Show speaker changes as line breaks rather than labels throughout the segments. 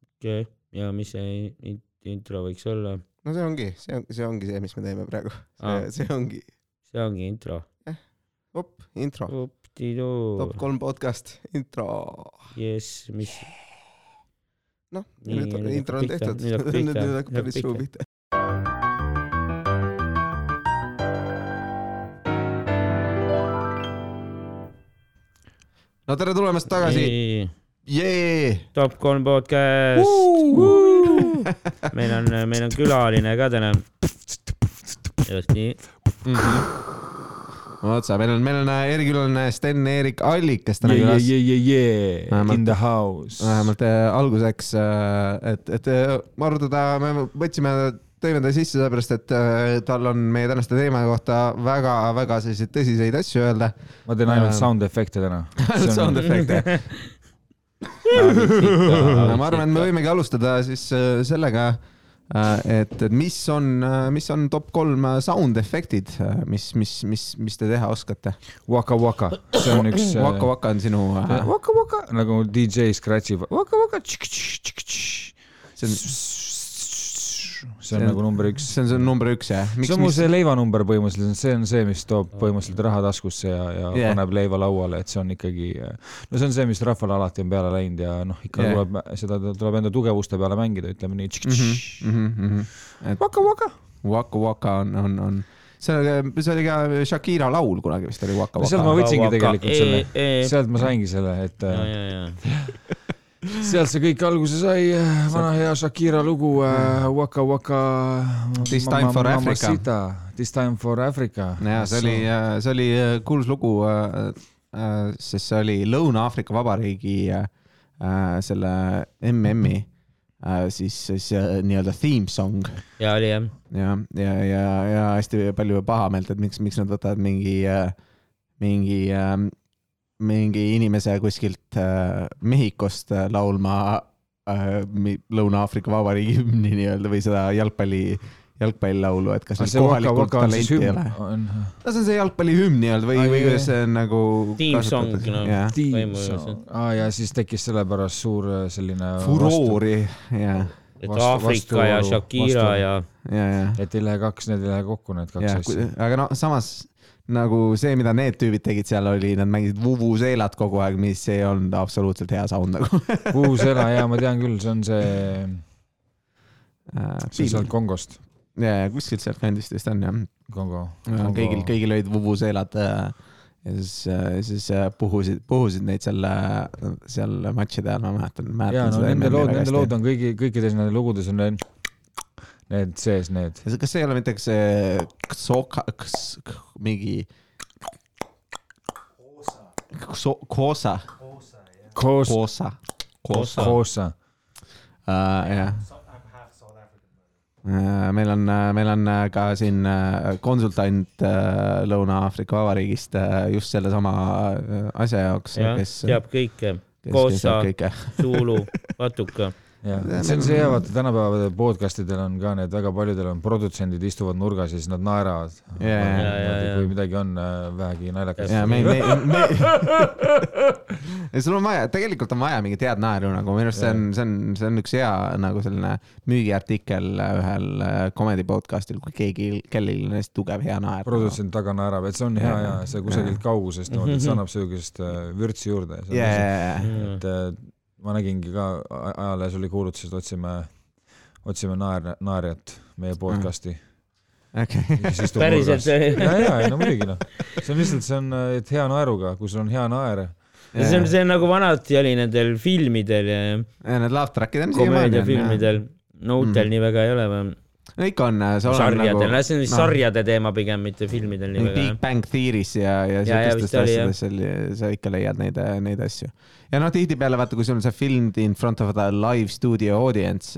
okei okay. , ja mis see in- in- intro võiks olla ?
no see ongi , see on , see ongi see , mis me teeme praegu .
Aa.
see , see ongi ,
see ongi intro .
op , intro , top
top
kolm podcast , intro .
jess , mis ,
noh ,
Nii,
nüüd
nüüd
on- intro on
hakkab pihta, nüüd
tehtud ,
hakkab pihta,
nüüd nüüd
nüüd
hakkab päris
hakkab
suu
pihta.
pihta . no tere tulemast tagasi ,
ei ,
jee .
top kolm podcast . meil on , meil on külaline ka täna . just nii ,
otsa , meil on , meil on äh, erikülaline Sten-Erik Allikas täna
yeah,
külas .
yeah, yeah, yeah.
Vähemalt-
in the house .
vähemalt äh, alguseks , et , et äh, arutada , me võtsime , tõime ta sisse sellepärast , et äh, tal on meie tänaste teemade kohta väga-väga selliseid tõsiseid asju öelda .
ma teen ainult
Ähm.
sound efekte täna .
sound efekte . ma arvan , et me võimegi alustada siis äh, sellega , et , et mis on , mis on top kolm äh, sound efektid , mis , mis , mis , mis te teha oskate ?
Waka Waka , see on üks .
Waka Waka on sinu , äh,
Waka Waka , nagu DJ Scratchi Waka Waka .
See
see
on-
on ,
see
see
on-
on nagu number üks .
see on see number üks jah ?
see on mu see leivanumber põhimõtteliselt , see on see , mis toob põhimõtteliselt raha taskusse ja , ja
Yeah.
yeah. paneb leiva lauale , et see on ikkagi , no see on see , mis rahvale alati on peale läinud ja noh , ikka
Yeah.
yeah. tuleb seda , tuleb enda tugevuste peale mängida , ütleme
Mhm.
nii .
Waka Waka . Waka Waka on , on , on , see oli , see oli ka Shakira laul kunagi vist oli Waka
No seal
Waka .
ma võtsingi tegelikult selle ,
selle .
sealt ma saingi selle , et
ja ,
äh,
ja , ja ,
sealt see kõik alguse sai , vana hea Shakira lugu äh, Waka Waka .
Mm.
mm,
This Time for Africa. .
This time for Africa .
ja see oli , see oli äh, kuulus lugu , sest see oli Lõuna-Aafrika Vabariigi äh, äh, selle MM-i äh, siis , siis äh, nii-öelda theme song
ja oli jah ,
ja , ja , ja , ja hästi palju pahameelt , et miks , miks nad võtavad mingi , mingi , mingi inimese kuskilt äh, Mehhikost äh, laulma äh, mi- Lõuna-Aafrika Vabariigi hümni nii-öelda või seda jalgpalli , jalgpallilaulu , et kas neil kohalikult talenti ei ole ?
äh,
no see on see jalgpallihümn nii-öelda või ,
Ai,
või
ai,
kuidas see on nagu .
Team song, no.
jah ,
Põhimõtteliselt.
aa ja siis tekkis sellepärast suur äh, selline .
furoori , jah ,
et
Vastu-
Aafrika ja
vastuolu-
Shakira
vastuolu.
ja
ja , ja
et ei lähe kaks , need ei lähe kokku , need kaks
jah ,
asja .
aga no samas nagu see , mida need tüübid tegid seal oli , nad mängisid vuvuseelat kogu aeg , mis ei olnud absoluutselt hea sound nagu .
Vuvuzela ja ma tean küll , see on see , see on sealt
ja ,
Kongost ,
ja kuskilt sealt kandist vist on jah .
Kongo .
kõigil , kõigil olid vuvuseelad äh, ja siis , siis äh, puhusid , puhusid neid seal , seal matšide ajal , ma mäletan ,
ja
mäletan
no nende
MM-i
lood ,
väga
nende
hästi.
lood on kõigi , kõikides nende lugudes on need , need sees , need .
Ja see- kas see ei ole mitte kas see ksoka , ks- , k- mingi ? Koosa ,
koos ,
koosa ,
koos ,
koosa .
koos .
Äh, jah . Äh, meil on , meil on äh, ka siin äh, konsultant äh, Lõuna-Aafrika Vabariigist äh, just sellesama äh, asja jaoks ,
Jah,
kes ,
teab kõike ,
kes
Koosa.
teab kõike .
Zulu , Patuka ,
jah , see on see hea , vaata tänapäevadel podcast idel on ka need , väga paljudel on produtsendid istuvad nurgas ja siis nad naeravad .
ja , ja ,
ja, ja.
kui midagi on äh, vähegi naljakas .
ja me , me , me . sul on vaja , tegelikult on vaja mingit head naeru nagu , minu arust see on , see on , see on üks hea nagu selline müügiartikkel ühel äh, comedy podcast'il , kui keegi , kellelgi on hästi tugev hea naer .
produtsent taga naerab , et see on hea ja see kusagilt kaugusest niimoodi , et see annab siukest äh, vürtsi juurde .
ja , ja , ja ,
et äh, ma nägingi ka a- ajalehes oli kuulutus , et otsime , otsime naer- , naerjat meie podcast'i .
okei .
päriselt
ja , ja , ei no muidugi noh , see on lihtsalt , see on , et hea naeruga , kui sul on hea naer ,
ja see on , see on nagu vanasti oli nendel filmidel ja
Need laugh track'id on Mm. siiamaani .
komeediafilmidel , no uutel nii väga ei ole või ?
no ikka on , see oleneb
sarjadel ,
nagu
no see on vist sarjade teema pigem , mitte filmidel nii
mingi
väga
Big . Bang Theory's ja , ja
Ja- ja
siukestes
vist oli, jah.
asjades oli , sa ikka leiad neid , neid asju . ja noh , tihtipeale vaata , kui sul on see filmed in front of the live studio audience ,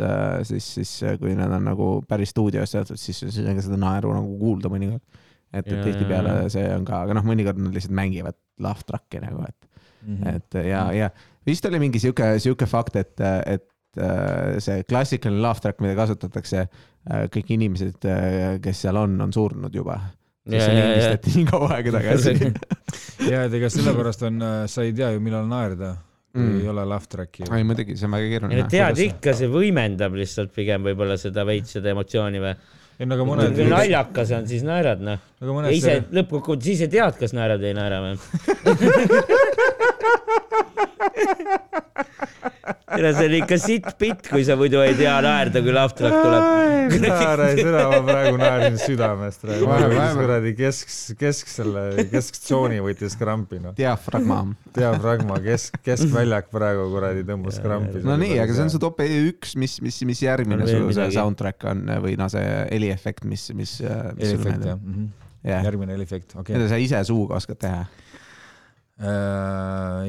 siis , siis äh, kui nad on nagu päris stuudios seotud , siis siis on ka seda naeru nagu kuulda mõnikord . et , et
Ja,
tihtipeale
ja, ja.
see on ka , aga noh , mõnikord nad lihtsalt mängivad laugh track'i nagu , et
Mm.
et äh, ja , ja vist oli mingi sihuke , sihuke fakt , et , et äh, see klassikaline laugh track , mida kasutatakse , kõik inimesed , kes seal on , on surnud juba .
Ja, ja, ja.
lindistati nii kaua aega tagasi .
ja et ega sellepärast on , sa ei tea ju , millal naerda . kui
Mm.
ei ole laugh track'i .
ei muidugi , see on väga
ei no
keeruline .
tead
kuidas-
ikka , see võimendab lihtsalt pigem võib-olla seda veits seda emotsiooni või ?
ei no aga mõned
kui , naljakas on , siis naerad noh .
aga
ja
mõned
ise lõppkokkuvõttes ise tead , kas naerad või ei naera või tere , see oli ikka sitt-pitt , kui sa muidu ei tea naerda , kui laugh track tuleb .
naera , seda ma praegu naersin südamest praegu .
Vahe- vahe-
kuradi kesks , kesk selle , kesktsooni võttis krampi noh .
diafragma .
diafragma kesk , keskväljak praegu kuradi tõmbas krampi .
no nii , aga see on su top üks , mis , mis , mis järgmine
On veel
sul see
midagi?
soundtrack on või noh , see heliefekt , mis , mis .
Elifekt jah .
jah ,
järgmine Elifekt , okei
mida . sa ise suuga oskad teha .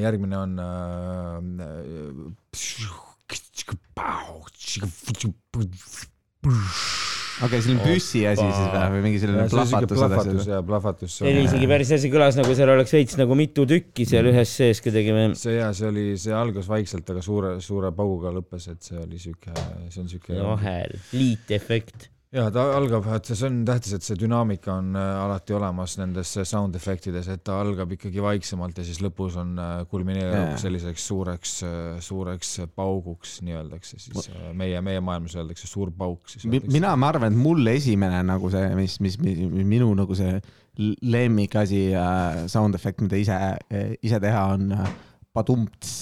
järgmine on .
okei okay, ,
Oh.
selline püssi asi siis või , või mingi selline plahvatus
plahvatus
edasi .
ja plahvatus .
see oli isegi päris hästi kõlas , nagu seal oleks veits nagu mitu tükki seal ühes sees kuidagi või .
see ja see oli , see algas vaikselt , aga suure , suure pauguga lõppes , et see oli siuke , see on siuke
vahel , liitefekt .
ja ta algab , et see on tähtis , et see dünaamika on äh, alati olemas nendes äh, sound effect ides , et ta algab ikkagi vaiksemalt ja siis lõpus on äh, kulmineerub
Jaa.
selliseks suureks , suureks äh, pauguks nii-öelda , eks see siis äh, meie , meie maailmas öeldakse suur pauk siis .
mina , ma arvan , et mul esimene nagu see , mis , mis , mis minu nagu see lemmikasi äh, sound efekt , mida ise äh, , ise teha on äh, padumts .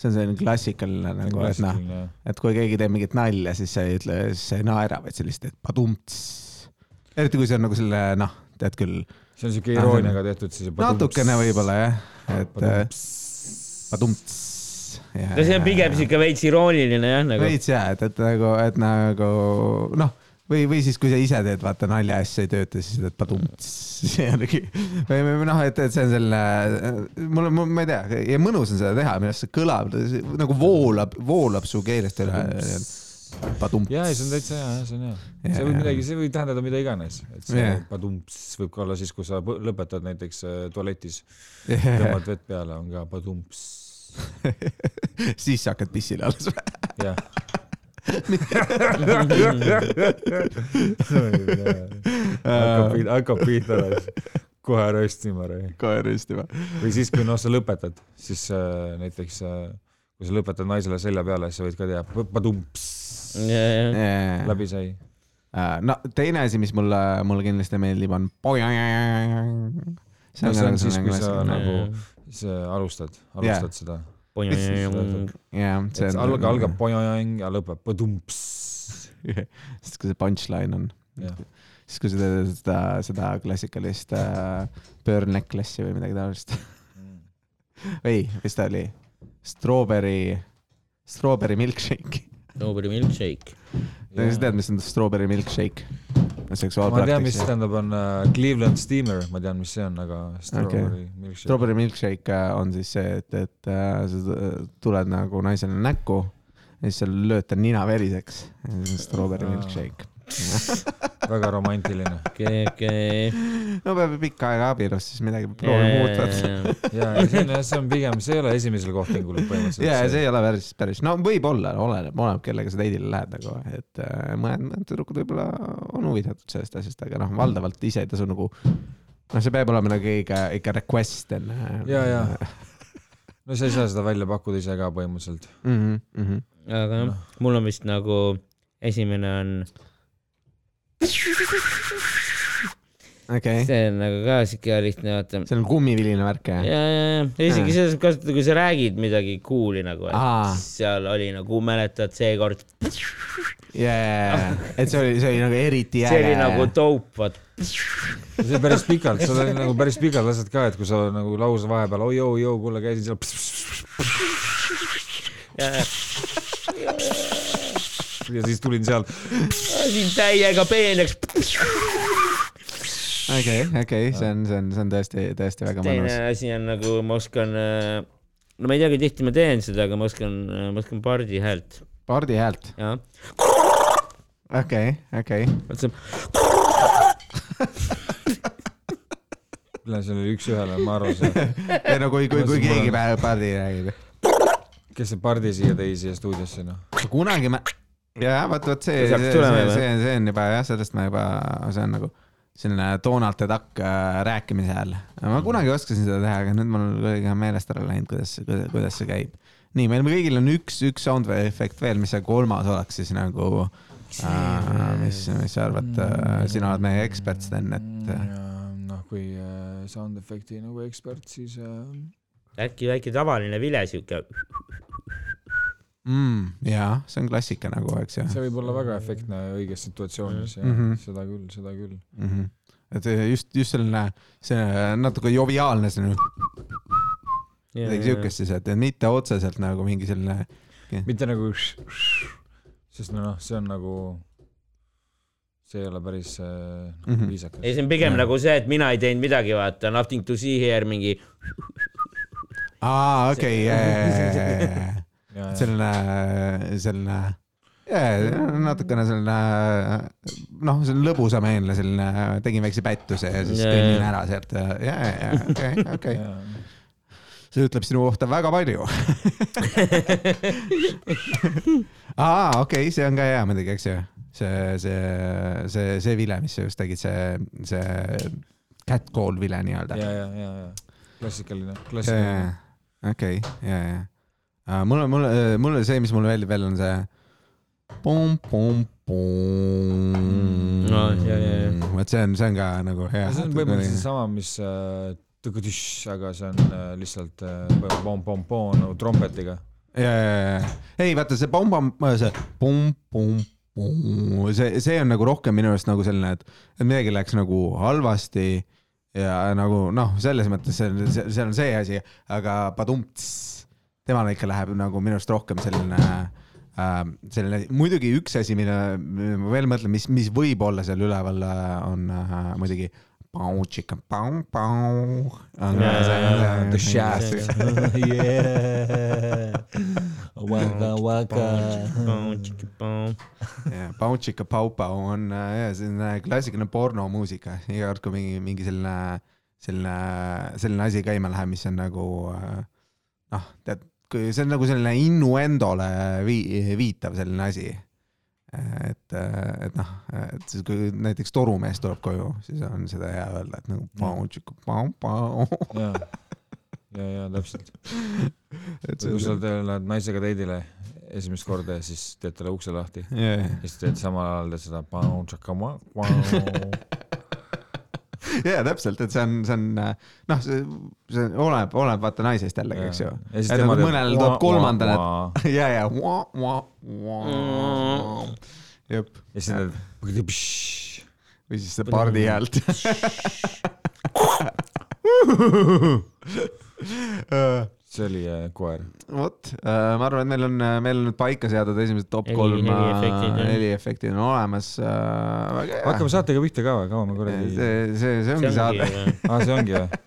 see on selline klassikaline nagu , et noh , et kui keegi teeb mingit nalja , siis sa ei ütle , sa ei naera , vaid sa lihtsalt teed padumts . eriti kui see on nagu selle noh , tead küll ,
see on siuke irooniaga tehtud siis .
natukene võib-olla jah , et äh, padumts .
no see on pigem siuke veits irooniline jah , nagu .
veits jaa , et , et nagu , et nagu noh , või , või siis , kui sa ise teed , vaata nalja ja siis see ei tööta , siis teed padumts jällegi . või , või noh , et , et see on selline , mul on , ma ei tea , ja mõnus on seda teha , minu arust see kõlab see nagu voolab , voolab su keelest üle . padumts .
jaa , ei see on täitsa hea , see on hea . see
Jaa,
võib
jaa.
midagi , see võib tähendada mida iganes , et see
Jaa.
padumps võib ka olla siis , kui sa põ- lõpetad näiteks äh, tualetis ,
täitsa .
tõmbad vett peale , on ka padumps .
siis sa hakkad pissile alles .
jah . hakkab pihta , hakkab pihta alles , kohe röstima või ,
koer ristima .
või siis , kui noh , sa lõpetad , siis äh, näiteks äh, kui sa lõpetad naisele selja peale , siis sa võid ka teha p- padumps , läbi sai .
Äh, no teine asi , mis mulle , mulle kindlasti meeldib , on .
no see on siis , kui sa nagu see, alustad , alustad seda ,
mm,
jah , see
et
on .
alg- , algab . pojojang ja lõpeb padumps .
sest kui see punchline on ,
jah ,
siis kui sa teed seda , seda klassikalist äh, burn necklace'i või midagi taolist .
Mm.
ei , mis ta oli ? Strawberry , strawberry milkshake .
Nobody milkshake .
sa just tead , mis on strawberry milkshake ?
ma tean , mis see
seksuaalpraktika .
tähendab , on äh, Cleveland Steamer , ma tean , mis see on , aga Strawberry Milkshake .
Strawberry milkshake äh, on siis see , et , et äh, sa t- tuled nagu naisele näkku ja siis sa lööd ta nina veriseks . Strawberry
Aa.
milkshake .
väga romantiline .
okei , okei .
no peab ju pikka aega abielus , siis midagi peab proovima muuta .
ja , ja see on , see on pigem , see ei ole esimesel kohtingul põhimõtteliselt .
ja , ja see ei ole päris , päris , no võib-olla , oleneb , oleneb , kellega sa teidile lähed nagu , et äh, mõned , mõned tüdrukud võib-olla on huvitatud sellest asjast , aga noh , valdavalt ise ei tasu nagu , noh , see peab olema nagu ikka , ikka request äh, enne .
ja , ja . no sa ei saa seda välja pakkuda ise ka põhimõtteliselt .
mhm,
aga jah , mul on vist nagu esimene on ,
okei ,
see on nagu ka siuke lihtne , vaata .
see on kummiviline värk jah ?
ja , ja , ja ja isegi seda saab kasutada , kui sa räägid midagi cool'i nagu ,
Aa.
et seal oli nagu , mäletad seekord ,
jaa , et see oli , see oli nagu eriti
see oli
äge .
nagu dope , vaat .
see oli päris pikalt , sa oled nagu päris pikalt asjad ka , et kui sa nagu lause vahepeal oi , oi , oi , kuule käisin seal . ja siis tulin seal ,
siin täiega peeneks .
okei , okei , see on , see on , see on tõesti , tõesti väga
teine
mõnus .
asi on nagu , ma oskan , no ma ei tea , kui tihti ma teen seda , aga ma oskan , ma oskan pardi häält ,
pardi häält ,
jah .
okei , okei .
vot see ,
see oli üks-ühele , ma arvasin ,
ei no kui , kui ,
No
kui
siis mul
keegi
on-
pä- pardi räägib
kes see pardi siia tõi siia stuudiosse noh .
kunagi ma , jaa , vot , vot see ,
See
see ,
hakkas
see ,
tulema
see,
juba.
see , see on juba jah , sellest ma juba , see on nagu , selline Donald the Duck äh, rääkimise hääl. ma kunagi oskasin seda teha, aga nüüd mul kuidagi on meelest ära läinud, kuidas, kuidas, kuidas see käib. nii, meil kõigil on üks, üks sound efekt veel, mis see kolmas oleks siis nagu äh, ,
mm,
mis , mis sa arvad äh, , sina oled meie ekspert , Sten , et äh,
Mm. noh , kui äh, sound efekti nagu ekspert , siis äh,
äkki väike tavaline vile siuke .
mm, jaa , see on klassika nagu , eks ju
see võib olla väga efektne õiges situatsioonis ja mm
Mhm.
-hmm. seda küll , seda küll .
mm . -hmm. et just , just selline , see natuke joviaalne selline , midagi siukest siis , et mitte otseselt nagu mingi selline ,
mitte nagu , sest noh , see on nagu , see ei ole päris äh, nagu
Mhm.
viisakas
ei , see on pigem
Jah.
nagu see , et mina ei teinud midagi , vaata , nothing to see here mingi .
aa , okei ,
ja, ja.
selline , selline yeah, , natukene selline , noh , selline lõbusameelne selline , tegin väikse pättuse ja siis
Jaa,
kõnnin
jaa.
ära sealt ja , ja , ja okei , okei ,
ja.
see ütleb sinu kohta väga palju . aa , okei okay, , see on ka hea muidugi , eks ju . see , see , see , see vile , mis sa just tegid , see , see catcall vile nii-öelda .
ja , ja , ja , ja klassikaline , klassikaline .
okei , ja , ja . mul on , mul , mul on see , mis mulle meeldib veel on see .
No, ja, ja, ja.
vot see on , see on ka nagu hea .
see on põhimõtteliselt seesama , mis äh, tukutüš , aga see on äh, lihtsalt äh, pom-pom-pom nagu trompetiga .
ja , ja , ja , ei vaata see pomm-pomm , see pomm-pomm-pomm , see , see on nagu rohkem minu arust nagu selline , et , et midagi läks nagu halvasti ja nagu noh , selles mõttes see on , see on see asi , aga padumts , temal ikka läheb nagu minu arust rohkem selline äh, selline , muidugi üks asi , mille ma veel mõtlen , mis , mis võib olla seal üleval , on äh, muidugi pau, chicken, pau, pau.
Jaa, jaa, jaa,
Uh, The Shaft yeah. . Waka waka .
jah , Bouncika Paupau on äh, jah , selline klassikaline pornomuusika , iga kord , kui mingi , mingi selline , selline , selline asi käima läheb , mis on nagu äh, noh , tead , kui see on nagu selline innuendole vii- , viitav selline asi . et , et noh , et siis kui näiteks torumees tuleb koju , siis on seda hea öelda , et nagu Bouncika Paupau .
ja , ja , ja täpselt . kui sa te- lähed naisega teidile esimest korda ja siis teed talle ukse lahti ja siis teed samal ajal teed seda .
jaa , täpselt , et see on , see on noh , see , see oleneb , oleneb vaata naisest jällegi , eks ju . Et nagu mõnel tuleb kolmandana, et-
et .
ja , ja . jep ,
Mm. ja siis teed pšš.
või siis see pardi häält .
see oli äh, koer .
vot , ma arvan , et meil on , meil on nüüd paika seatud esimesed top
Heli-
kolm
heliefektid, jah.
heliefektid on olemas . väga hea .
hakkame saatega pihta ka või , kaua me
see ,
kuradi .
see , see ongi saade . Ah,
aa , see ongi või ?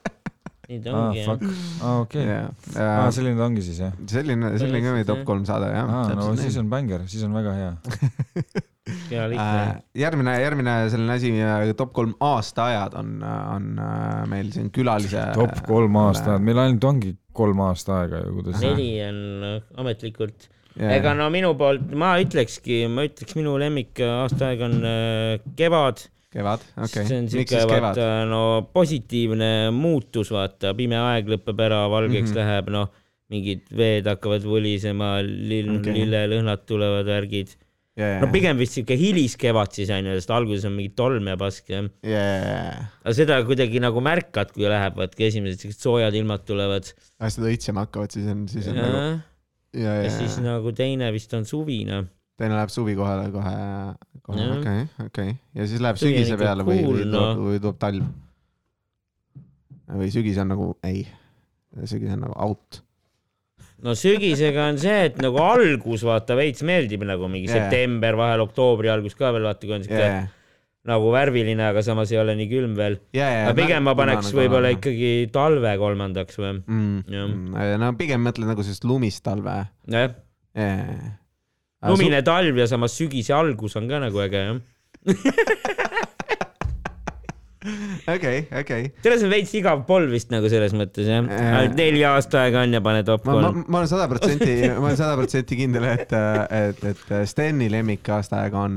nii ta
aa ,
ongi jah .
fuck . aa , okei . aa ,
selline ,
selline ta ongi siis jah ?
Äh, selline ka meie top
jah.
kolm saade jah .
aa , Ah, no siis on bängar , siis on väga hea .
hea
Äh,
lihtne .
järgmine , järgmine selline asi , top kolm aastaajad on , on äh, meil siin külalise .
top kolm aastat , meil ainult ongi kolm aasta aega ju , kuidas .
neli on äh, ametlikult . ega no minu poolt , ma ütlekski , ma ütleks , minu lemmik äh, aastaaeg on äh, kevad
kevad , okei
see on
okay. . miks
siuke
siis kevad ?
vaata no positiivne muutus , vaata pime aeg lõpeb ära , valgeks mm
Mhm.
-hmm. läheb , noh mingid veed hakkavad võlisema , lill
Okei.
okay. , lillelõhnad tulevad , värgid . no
no
pigem vist siuke hiliskevad siis onju , sest alguses on mingi tolm ja pask ja .
yeah. .
aga seda kuidagi nagu märkad , kui läheb , vaat kui esimesed siuksed soojad ilmad tulevad .
asjad õitsema hakkavad , siis on , siis on
ja,
nagu ja ,
ja
ja ,
siis
ja
nagu teine vist on suvine .
teine läheb suvi kohale kohe , kohe ,
Jah.
okei , okei . ja siis läheb
Suvi on
sügise
ikka
peale või , või
cool,
tuleb ,
noh.
või tuleb talv ? või sügis on nagu , ei , sügis on nagu out .
no sügisega on see , et nagu algus vaata veits meeldib nagu mingi
Jaa.
yeah. september , vahel oktoobri algus ka veel vaata , kui on siuke yeah.
ja ,
nagu värviline , aga samas ei ole nii külm veel .
ja , ja .
aga pigem ma paneks võib-olla . ikkagi talve kolmandaks või ? Jah.
Mm. no pigem mõtlen nagu sellist lumist talve .
nojah , lumine talv ja samas sügise algus on ka nagu äge jah .
okei , okei .
selles on veits igav pool vist nagu selles mõttes jah .
Jaa.
ainult neli aasta aega on ja pane top
ma , ma ,
kolm .
ma olen sada protsenti , ma olen sada protsenti kindel , et , et , et Steni lemmik aastaaeg on ,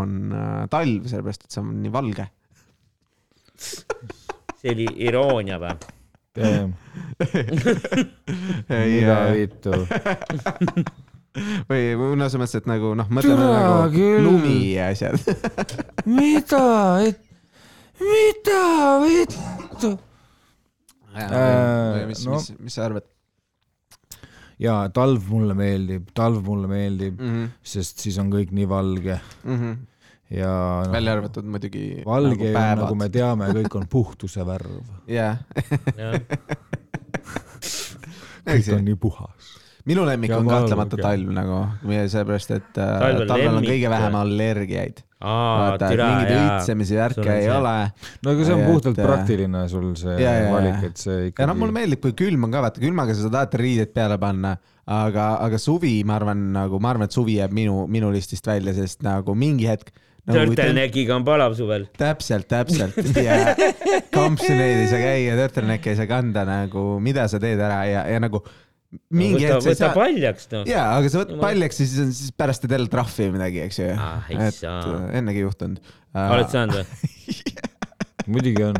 on äh, talv , sellepärast et see on nii valge .
see oli iroonia või ?
mida vittu .
äh, või või no selles mõttes , et nagu noh , mõtleme
Türa
nagu
küll.
lumi ja asjad .
mida , mida vittu ? Äh,
mis ,
no.
mis , mis sa arvad
jaa , talv mulle meeldib , talv mulle meeldi ,
mm ?
sest siis on kõik nii valge
-hmm.
ja no,
välja arvatud muidugi
valge nagu,
päevad.
nagu me teame , kõik on puhtuse värv .
jah ,
kõik on nii puhas .
minu lemmik
Ja
on
valge.
kahtlemata talv nagu , sellepärast et äh,
Talvel
talvel on
lemmik.
kõige vähem allergiaid .
aa ,
vaata , et
türa
mingeid
jaa .
õitsemisi
Sul
värke
on
ei
see.
ole
no aga see on
Et,
puhtalt
äh,
praktiline sul see
jaa,
ja,
jaa,
ja,
jaa.
valik , et see
ja noh ,
ikkagi
mulle meeldib , kui külm on ka , vaata külmaga sa tahad riided peale panna , aga , aga suvi , ma arvan , nagu ma arvan , et suvi jääb minu , minu listist välja , sest nagu mingi hetk nagu, .
Turtleneckiga on palav suvel .
täpselt , täpselt ja kampsuneid ei saa käia , turtlenecki ei saa kanda nagu , mida sa teed ära ja , ja nagu mingi
võta ,
hetk sa ei
võta
saa .
paljaks noh .
jaa , aga sa võtad
Jumala-
paljaks ja siis on , siis pärast teed jälle trahvi või midagi , eks ju .
Ah, ei
et
saa.
äh, ennegi juhtunud . Äh,
oled saanud või ?
muidugi on .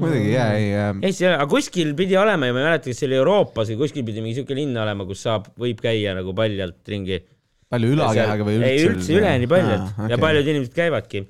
muidugi jaa , ei . äh,
ei , see , aga kuskil pidi olema ja ma ei mäleta , kas see oli Euroopas või kuskil pidi mingi siuke linn olema , kus saab , võib käia nagu paljalt ringi .
palju ülakehaga või üldse ?
ei üldse üleni paljalt ah, okay. ja paljud inimesed käivadki .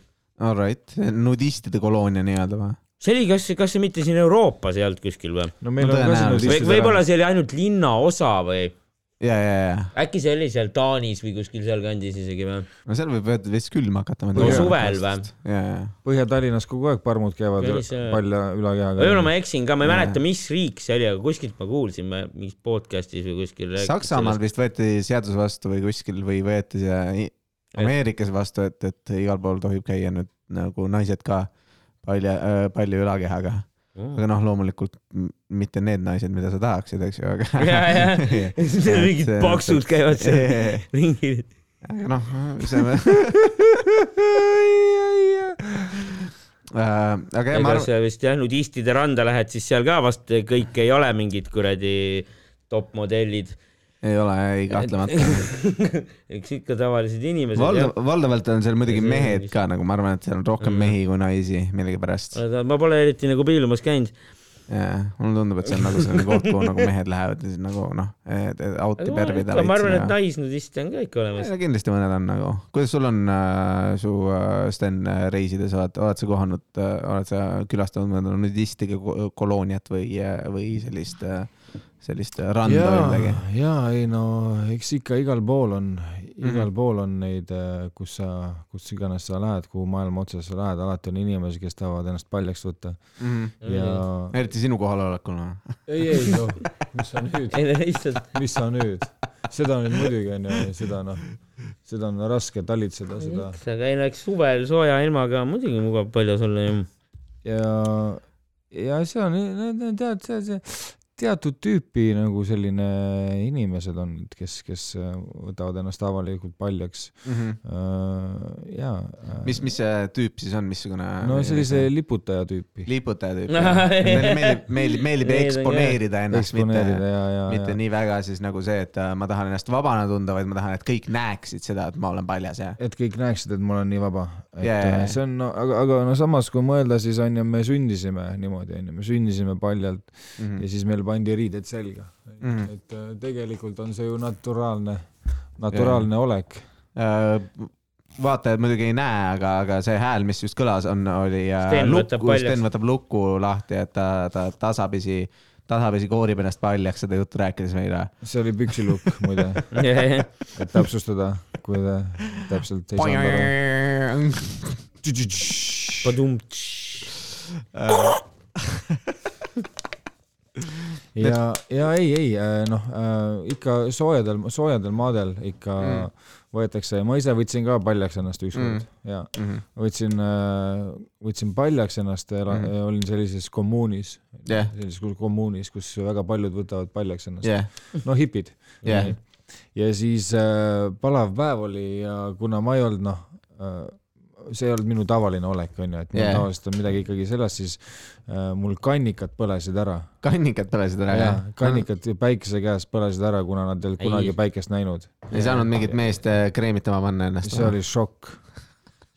Alright , nudistide koloonia nii-öelda või ?
see oli , kas , kas see mitte siin Euroopas ei olnud kuskil või ?
no meil
No
no, on ka
tõenäoliselt.
sinu
või võib-olla . see oli ainult linnaosa või
ja , ja , ja ,
äkki see oli seal Taanis või kuskil sealkandis isegi või ?
no seal võib öelda vist külm hakata .
no suvel või ?
ja , ja ,
Põhja-Tallinnas kogu aeg parmud käivad
Oli
äh,
see-
palja
võib-olla
ülakehaga .
ma eksin ka , ma ei mäleta , mis riik see oli , aga kuskilt ma kuulsin , mingis podcast'is või kuskil .
Saksamaal vist võeti seadus vastu või kuskil või võeti see i- Ameerikas vastu , et , et igal pool tohib käia nüüd nagu naised ka palja , palju ülakehaga .
Mm.
aga noh , loomulikult m- mitte need naised , mida sa tahaksid , eks ju , aga .
ja , ja , mingid paksud käivad seal ringi .
aga noh , see on . Äh, aga jah , ma
ega
arvan ,
sa vist jah , nudistide randa lähed , siis seal ka vast kõik ei ole mingid kuradi topmodellid .
ei ole , ei kahtlemata .
eks ikka tavalised inimesed
valdav
Valdav... ,,
valdavalt on seal muidugi
Ja see- Mm.
mehed ka nagu , ma arvan , et seal on rohkem mehi kui naisi millegipärast .
jah . ma pole eriti nagu piilumas käinud .
mulle tundub , et see on nagu selline koht , kuhu nagu mehed lähevad ja siis nagu noh , et et out'i
ma
pervida
ma arvan , et
ja-
naisnudiste on ka ikka olemas .
Ja kindlasti mõned on nagu , kuidas sul on äh, su äh, Sten äh, reisides , oled , oled sa kohanud äh, , oled sa külastanud mõnda nudistiga ko- kolooniat või , või sellist , sellist äh, randa
ja
või midagi ?,
ja ei no eks ikka igal pool on , igal pool on neid , kus sa , kus iganes sa lähed , kuhu maailma otsa sa lähed , alati on inimesi , kes tahavad ennast paljaks võtta ja
eriti sinu kohalolekul või ?
ei , ei noh , mis sa nüüd ,
ei no lihtsalt ,
mis sa nüüd , seda nüüd muidugi onju , seda noh , seda on raske talitseda seda
aga ei no eks suvel sooja ilmaga on muidugi mugav paljas olla ju .
ja , ja see on , tead , see , see teatud tüüpi nagu selline inimesed on , kes , kes äh, võtavad ennast avalikult paljaks ja .
mis , mis see tüüp siis on , missugune ?
Äh, no sellise liputaja tüüpi .
liiputaja tüüp . Neile meeldib , meeldib , meeldib
Need on
eksponeerida ennast ,
eksponeerida
mitte ,
ja , ja ,
mitte
ja ,
nii väga siis nagu see , et äh, ma tahan ennast vabana tunda , vaid ma tahan , et kõik näeksid seda , et ma olen paljas ja .
et kõik näeksid , et ma olen nii vaba .
Jaa,
et
jaa,
yeah.
jaa.
see on , aga , aga no samas , kui mõelda , siis on ju , me sündisime niimoodi on ju , me sündisime paljalt ja siis meil pandi riided selga .
Mhm.
et äh, tegelikult on see ju naturaalne , naturaalne olek
Äh, vaatajad muidugi ei näe , aga , aga see hääl , mis just kõlas , on , oli äh,
Sten võtab
lukku ,
paljaks.
Sten võtab luku lahti , et ta , ta tasapisi , tasapisi koorib ennast paljaks seda juttu rääkides äh, meile .
see oli püksilukk muide , et täpsustada , kui te täpselt ei saanud aru . ja , ja ei , ei noh , ikka soojadel , soojadel maadel ikka mm. võetakse , ma ise võtsin ka paljaks ennast ükskord mm. ja võtsin , võtsin paljaks ennast , mm. olin sellises kommuunis
Jah.
sellises kus- kommuunis , kus väga paljud võtavad paljaks ennast
jah ,
no hipid
Jah. .
ja siis äh, palav päev oli ja kuna ma ei olnud noh äh, , see ei olnud minu tavaline olek onju , et mul
Jah.
yeah. tavaliselt on midagi ikkagi selles , siis äh, mul kannikad põlesid ära .
kannikad põlesid ära , jah ?
kannikad päikese käes põlesid ära , kuna nad ei olnud
Ei.
kunagi päikest näinud .
ei saanud mingit meest äh, kreemitama panna ennast
see . oli šokk ,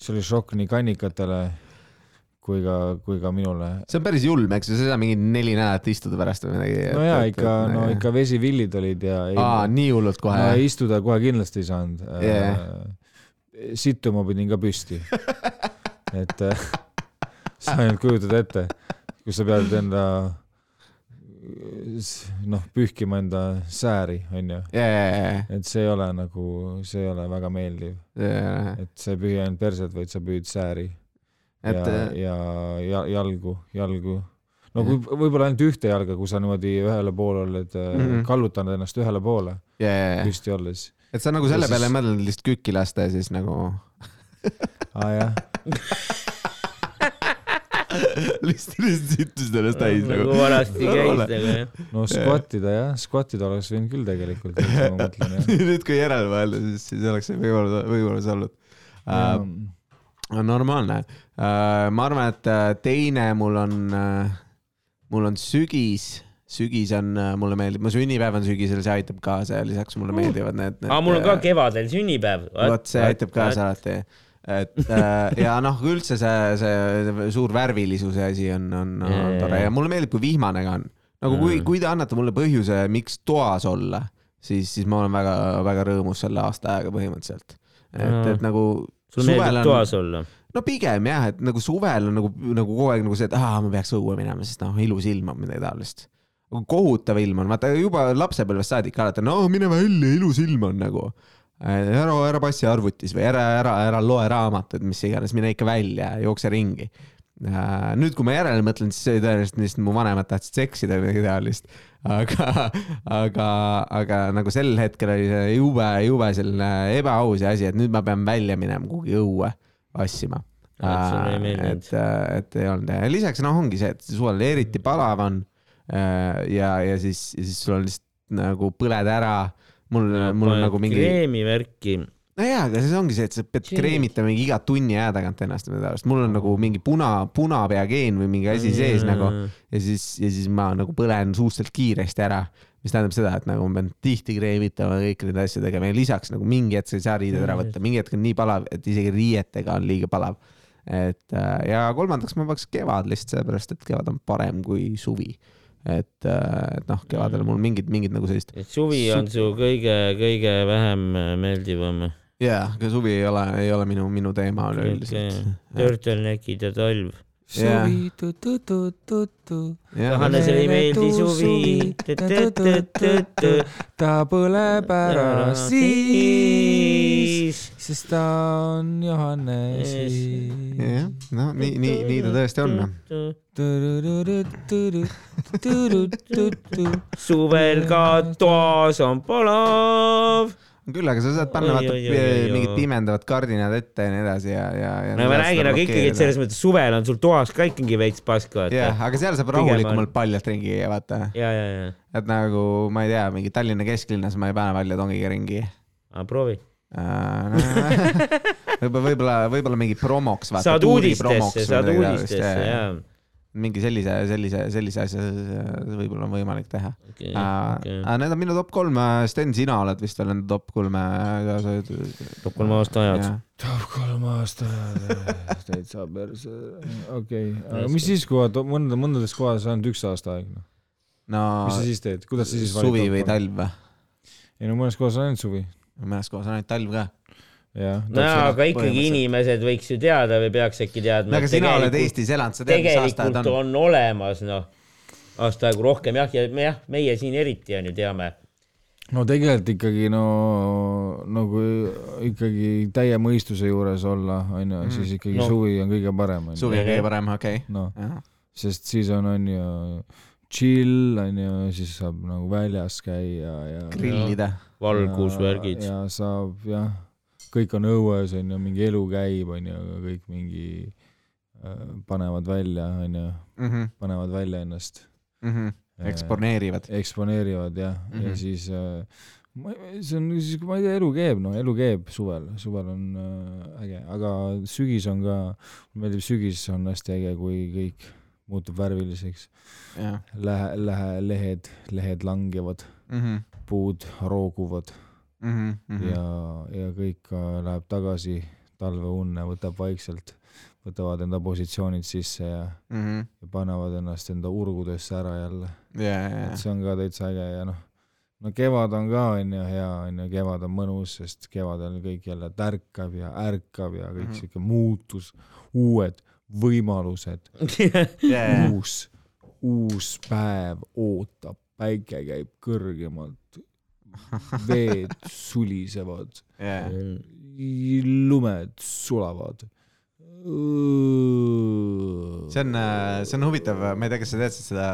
see oli šokk nii kannikatele kui ka , kui ka minule .
see on päris julm , eks ju , seda mingi neli nädalat istuda pärast või midagi .
no ja ikka , no . ikka vesivillid olid ja ei,
aa , nii hullult
ma
kohe
no, ? istuda kohe kindlasti ei saanud
Jah. .
sittu ma pidin ka püsti . et äh, sa ainult kujutad ette , kus sa pead enda äh, s- noh , pühkima enda sääri , onju .
jaa , jaa ,
et see ei ole nagu , see ei ole väga meeldiv ,
jaa .
et sa ei pühi ainult perset , vaid sa püüd sääri
et äh,
ja , ja, ja jalgu , jalgu . no kui võib-olla ainult ühte jalga , kui sa niimoodi ühele poole oled mm
Mhm.
-hmm. , kallutanud ennast ühele poole
jaa , jaa , jaa .
püsti olles .
et sa nagu selle
Ja siis-
peale ei mõelnud lihtsalt kükki lasta ja siis nagu
aa Ah, jah ,
lihtsalt , lihtsalt sittusid ennast täis nagu .
nagu vanasti käis nagu jah .
no skvattida jah , skvattida oleks võinud küll tegelikult , ma mõtlen jah .
nüüd , kui järele mõelda , siis , siis oleks see võimalus , võimalus olnud
Ja,
uh, . normaalne uh, . ma arvan , et äh, teine mul on uh, , mul on sügis , sügis on uh, , mulle meeldib , mu sünnipäev on sügisel , see aitab kaasa ja lisaks mulle meeldivad need, need .
Uh. aa , mul on ka kevadel sünnipäev .
vot see aitab kaasa . alati , et äh, ja noh , üldse see , see suur värvilisuse asi on , on , on
Jajah.
tore ja mulle meeldib , kui vihmane ka on . nagu kui ,
Mm.
kui te annate mulle põhjuse , miks toas olla , siis , siis ma olen väga-väga rõõmus selle aasta ajaga põhimõtteliselt . et ,
Mm.
et nagu
sul
Suvel on-
meeldib toas olla ?
no pigem jah , et nagu suvel on nagu , nagu kogu aeg nagu see , et aa , ma peaks õue minema , sest noh , ilus ilm on midagi taolist . kohutav ilm on , vaata juba lapsepõlvest saadik alati , no mine välja , ilus ilm on nagu . ära , ära passi arvutis või ära , ära , ära loe raamatuid , mis iganes , mine ikka välja , jookse ringi . nüüd , kui ma järele mõtlen , siis see oli tõenäoliselt lihtsalt mu vanemad tahtsid seksida või midagi taolist . aga , aga , aga nagu sel hetkel oli see jube , jube selline ebaaus ja asi , et nüüd ma pean välja minema kuhugi õue vassima .
Ah, et sulle ei meeldinud.
et , et ei olnud ja lisaks noh , ongi see , et suvel eriti palav on . ja , ja siis , siis sul on lihtsalt nagu põled ära . mul , mul on nagu mingi ,
kreemi värki .
no jaa , aga siis ongi see , et sa pead
Shit.
kreemitama mingi iga tunni aja tagant ennast või midagi taolist , mul on nagu mingi puna , punapeageen või mingi asi sees nagu . ja siis , ja siis ma nagu põlen suhteliselt kiiresti ära , mis tähendab seda , et nagu ma pean tihti kreemitama ja kõiki neid asju tegema ja lisaks nagu mingi hetk sa ei saa riided ära võtta , mingi hetk on nii palav , et isegi riietega on liiga palav . et äh, ja kolmandaks ma peaks kevad lihtsalt sellepärast , et kevad on parem kui suvi . et , et noh , kevadel mul mingid , mingid nagu sellist ,
et suvi on su kõige-kõige vähem meeldivam .
jaa , aga suvi ei ole , ei ole minu , minu teema üleüldiselt .
Turtlenäkid ja talv .
Jah.
suvi tu-tu-tu-tu-tu ,
jah ,
Hannesele ei
Meeletu
meeldi
suvi.
suvi .
ta põleb ära siis ,. sest ta on Johannes .
jah , no nii , nii , nii ta tõesti on . noh.
suvel ka toas on palav .
küll , aga sa saad
Oi,
panna vaata
oi, oi, oi, oi.
mingid pimendavad kardinad ette ja nii edasi ja , ja , ja .
no
nagu
ma räägin , aga ikkagi , et selles mõttes suvel on sul toas ka ikkagi veits pask , vaata .
jah , aga seal saab
Pigem on-
rahulikumalt paljalt ringi käia , vaata .
ja , ja , ja .
et nagu ma ei tea , mingi Tallinna kesklinnas ma ei pane välja tongiga ringi .
aga proovi .
võib-olla , võib-olla , võib-olla mingi promoks .
saad uudistesse , saad uudistesse , jaa .
mingi sellise , sellise , sellise asja s- võib-olla on võimalik teha .
okei.
aga need on minu top kolm , Sten , sina oled vist veel enda top kolme .
top kolm aasta ajad .
tahab kolm aastat , täitsa perse . okei , aga mis siis , kui vaata mõnda , mõndades kohades ainult üks aasta aega , noh .
no
mis sa siis teed , kuidas sa siis
Ah, suvi või ? talv või ?
ei no mõnes kohas on ainult suvi .
mõnes kohas on ainult talv ka .
jah ,
nojaa ,
täpselt,
aga ikkagi
põhimõtteliselt.
inimesed võiks ju teada või peaks äkki teadma .
no aga sina oled Eestis elanud , sa tead , mis aastaajad
tegelikult
on .
on olemas , noh , aasta aegu rohkem jah , ja me jah , meie siin eriti on ju teame .
no tegelikult ikkagi no nagu ikkagi täie mõistuse juures olla , onju , siis ikkagi
No.
no. suvi on kõige parem , onju .
suvi on kõige parem , okei .
noh , sest siis on , onju , chill , onju , siis saab nagu väljas käia ja .
grillida .
valgusvärgid .
ja saab jah , kõik on õues onju , mingi elu käib onju , aga kõik mingi äh, panevad välja onju , panevad välja ennast , mm-hmm.
eksponeerivad .
eksponeerivad jah mm , -hmm.
Mhm.
ja siis äh, ma , see on siis , ma ei tea , elu käib , noh , elu käib suvel , suvel on äh, äge , aga sügis on ka , mulle meeldib sügis on hästi äge , kui kõik muutub värviliseks , lähe , lähe , lehed , lehed langevad ,
Mm-hmm,
puud rooguvad
Mhm.
ja , ja kõik äh, läheb tagasi talveunne , võtab vaikselt , võtavad enda positsioonid sisse ja,
mm-hmm.
ja panevad ennast enda urgudesse ära jälle . et see on ka täitsa äge ja noh , no kevad on ka onju hea onju , kevad on mõnus , sest kevadel kõik jälle tärkab ja ärkab ja kõik mm
Mhm.
-hmm. siuke muutus , uued võimalused ,
ja ,
uus , uus päev ootab , päike käib kõrgemalt , veed sulisevad ,
ja ,
lumed sulavad .
see on , see on huvitav , ma ei tea , kas sa tead seda ,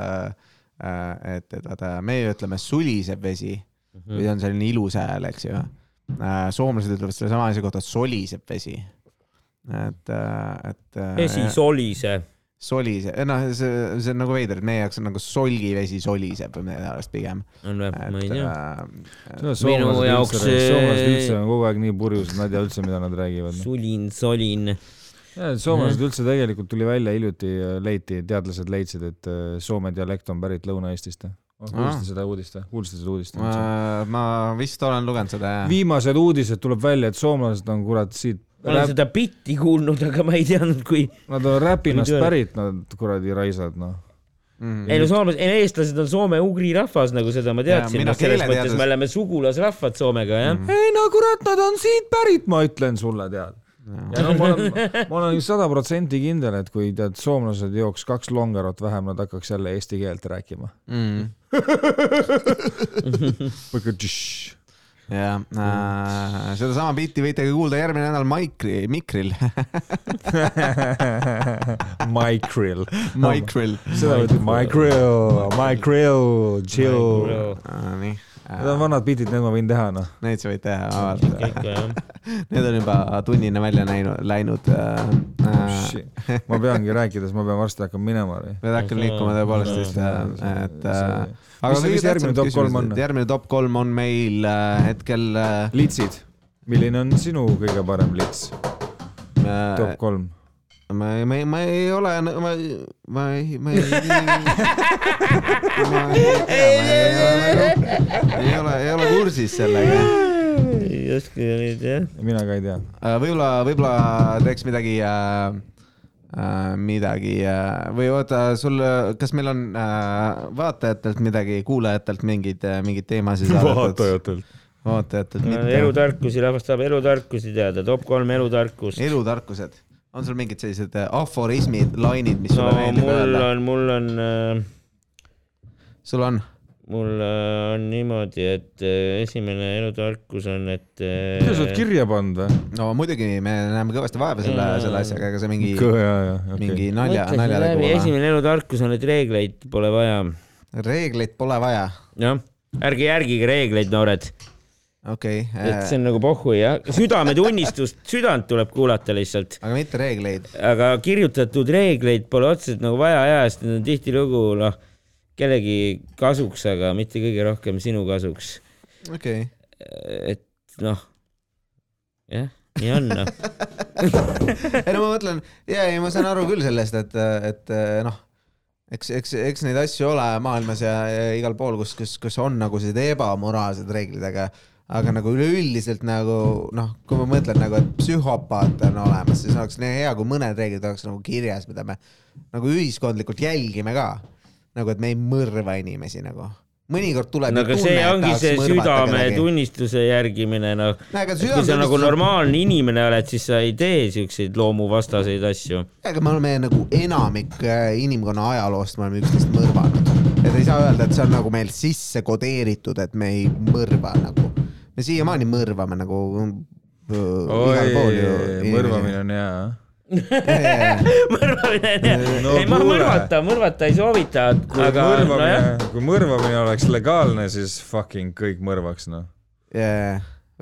et , et vaata , meie ütleme suliseb vesi
Mm.
või on selline ilus hääl , eks ju . soomlased ütlevad selle sama asja kohta soliseb vesi . et , et . äh,
vesi solise .
soliseb , noh , see , see on nagu veider , et meie jaoks on nagu solgivesi soliseb või midagi taolist pigem .
on või , ma ei
et
tea .
äh,
Minu jaoks see-
soomlased üldse on kogu aeg nii purjus , et nad ei tea üldse , mida nad
äh,
räägivad .
sulin , solin .
soomlased üldse tegelikult tuli välja hiljuti , leiti , teadlased leidsid , et äh, soome dialekt on pärit Lõuna-Eestist .
Aa.
kuulsite seda uudist või ? kuulsite seda uudist
ma
üldse ?
ma vist olen lugenud seda jah .
viimased uudised tuleb välja , et soomlased on kurat siit ,
ma olen seda bitti kuulnud , aga ma ei teadnud , kui .
Mhm.
nad on Räpinast
Muidu-
pärit , nad kuradi raisad noh .
Mhm,
ei no soomlased , ei no eestlased on soome-ugri rahvas , nagu seda ma teadsin .
mina Mhm.
selles mõttes
keeleteadus-
me oleme sugulasrahvad Soomega , jah mm. .
ei no kurat , nad on siit pärit , ma ütlen sulle , tead . ja no ma olen , ma olen sada protsenti kindel , et kui tead , soomlased jooks kaks longarot vähem , nad hakkaks jälle eesti keelt rääkima .
mhm. ja äh, sedasama bitti võite ka kuulda järgmine nädal Maikri , Mikril ,
My grill .
Maikril .
seda ütleb my grill , my grill , chill .
Oh.
nii ,
Need on vanad bitid , need ma võin teha noh .
neid sa võid teha vabalt .
ikka jah .
Need on juba tunnine välja näinud , läinud
Oh,
äh, .
ma peangi rääkides , ma pean varsti hakkama minema .
pead hakkama liikuma tõepoolest vist , et äh, aga
Mis see- mis
kõige
järgmine
tähtsam
top kolm
küsimus,
on?
et järgmine top kolm on meil äh, hetkel äh,
litsid , milline on sinu kõige parem lits ?
äh,
top kolm .
ma ei , ma ei , ma ei ole , ma , ma ei , ma ei . ma ei tea , ma ei ole , ei ole , ei ole kursis sellega .
ei oska nüüd jah .
mina ka ei tea
võib-olla , võib-olla teeks midagi äh, , äh, midagi äh, või oota , sul , kas meil on äh, vaatajatelt midagi , kuulajatelt äh, mingeid , mingeid teemasid ?. vaatajatelt mitte .
elutarkusi , rahvas tahab elutarkusi teada , top kolm elutarkust .
elutarkused , on sul mingid sellised äh, aforismid , lainid , mis
no
sulle meeldib
mul
öelda ?
on , mul on äh,
sul on ?
mul äh, on niimoodi , et äh, esimene elutarkus on , et . äh,
mida sa oled kirja pannud või ?
no muidugi , me näeme kõvasti vaeva selle ,
Mm.
selle asjaga , ega see mingi ,
jaa , jaa ,
mingi nalja , nalja tegu ole .
esimene elutarkus on , et reegleid pole vaja .
ah. reegleid pole vaja ,
jah , ärge järgige reegleid , noored ,
okei äh,
et see
okay. .
on nagu pohhui jah , südametunnistust , südant tuleb kuulata lihtsalt
aga mitte reegleid .
aga kirjutatud reegleid pole otseselt nagu vaja ja sest need on tihtilugu noh , kellegi kasuks , aga mitte kõige rohkem sinu kasuks .
okei okay. .
et noh , jah , nii on noh .
ei no ma mõtlen , ja ei , ma saan aru küll sellest , et , et noh , eks , eks , eks neid asju ole maailmas ja, ja igal pool , kus , kus , kus on nagu sellised ebamoraalsed reeglid , aga , aga nagu üleüldiselt nagu noh , kui ma mõtlen nagu , et psühhopaat on olemas , siis oleks nii hea , kui mõned reeglid oleks nagu kirjas , mida me nagu ühiskondlikult jälgime ka . nagu , et me ei mõrva inimesi nagu . mõnikord tuleb
no aga see ongi see südametunnistuse järgimine noh . kui sa nagu . normaalne inimene oled , siis sa ei tee siukseid loomuvastaseid asju .
ega me oleme nagu enamik äh, inimkonna ajaloost , me oleme üksteist mõrvanud . et ei saa öelda , et see on nagu meil sisse kodeeritud , et me ei mõrva nagu . me siiamaani mõrvame nagu .
oi , mõrvamine . on hea .
mõrvamine on hea
No
no, , ei ma
kuule.
mõrvata , mõrvata ei soovita ,
kui
aga
mõrvamine
nojah ,
kui mõrvamine oleks legaalne , siis fucking kõik mõrvaks , noh .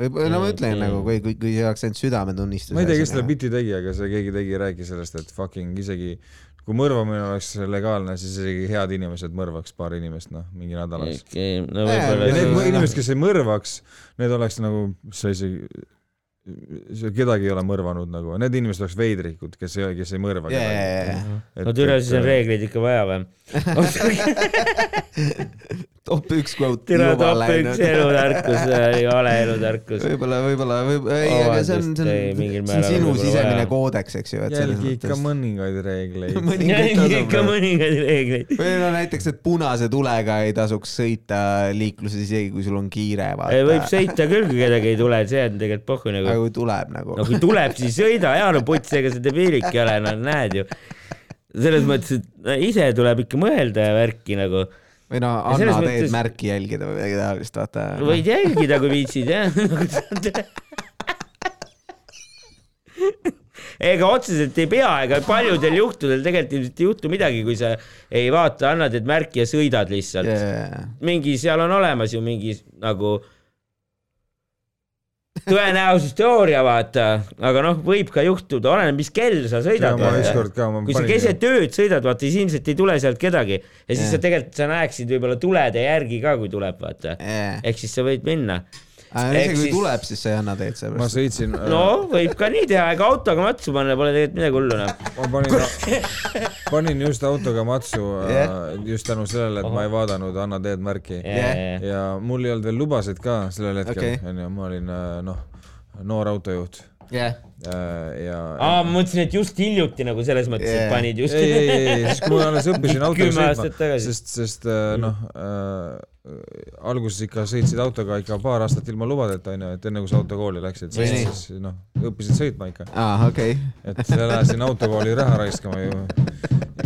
või no ma ütlen nagu , kui , kui , kui see oleks ainult südametunnistus .
ma ei tea , kes selle . biti tegi , aga see keegi tegi , rääkis sellest , et fucking isegi kui mõrvamine oleks legaalne , siis isegi head inimesed mõrvaks paar inimest , noh , mingi nädalaks .
okei , no
ja
võib-olla
need
Jah.
mõ- inimesed , kes ei mõrvaks , need oleks nagu , sa isegi , sa kedagi ei ole mõrvanud nagu , need inimesed oleks veidrikud , kes ei , kes ei mõrva kedagi .
no
no türa , siis on . reegleid ikka vaja või ?
top üks kvoot.
tere, top üks elutarkus oli vale elutarkus.
võib-olla, võib-olla, võib-olla, ei, aga see on, see on, see on sinu sisemine koodeks, eks ju.
jälgi ikka mõningaid reegleid.
jälgi ikka mõningaid reegleid.
või no näiteks, et punase tulega ei tasuks sõita liikluses, isegi kui sul on kiire.
võib sõita küll, kui kedagi ei tule, see on tegelikult pohhu nagu.
aga kui tuleb nagu.
no kui tuleb, siis sõida ja no putsi, ega see debiilik ei ole, no näed ju. selles mõttes, et ise tuleb ikka mõelda ja värki nagu
või noh, anna teed mõttes... märki jälgida või midagi taolist, vaata.
võid jälgida, kui viitsid jah ega otseselt ei pea, ega paljudel juhtudel tegelikult ilmselt ei juhtu midagi, kui sa ei vaata, annad need märki ja sõidad lihtsalt yeah.. mingi, seal on olemas ju mingi nagu tõenäosusteooria, vaata, aga noh, võib ka juhtuda, oleneb, mis kell sa sõidad. kui sa keset ööd sõidad, vaata, siis ilmselt ei tule sealt kedagi ja siis yeah. sa tegelikult, sa näeksid võib-olla tulede järgi ka, kui tuleb, vaata yeah.. ehk siis sa võid minna.
aga isegi kui siis... tuleb, siis sa ei anna teed seepärast.
ma sõitsin
äh.... no võib ka nii teha, ega autoga matsu panna pole tegelikult midagi hullu noh. enam.
ma panin panin just autoga matsu yeah. just tänu sellele, et Oho. ma ei vaadanud Anna teed märki yeah.. ja mul ei olnud veel lubasid ka sellel hetkel okay., onju, ma olin noh, noor autojuht Äh,
yeah..
ja
aa, ma mõtlesin, et just hiljuti nagu selles mõttes yeah., et panid just.
ei, ei, ei, ei, siis kui ma alles õppisin autoga sõitma, sest, sest noh äh,, alguses ikka sõitsid autoga ikka paar aastat ilma lubadeta onju, et enne kui sa autokooli läksid, siis, siis noh, õppisid sõitma ikka.
aa, Ah, okei
okay.. et läksin autokooli raha raiskama ju.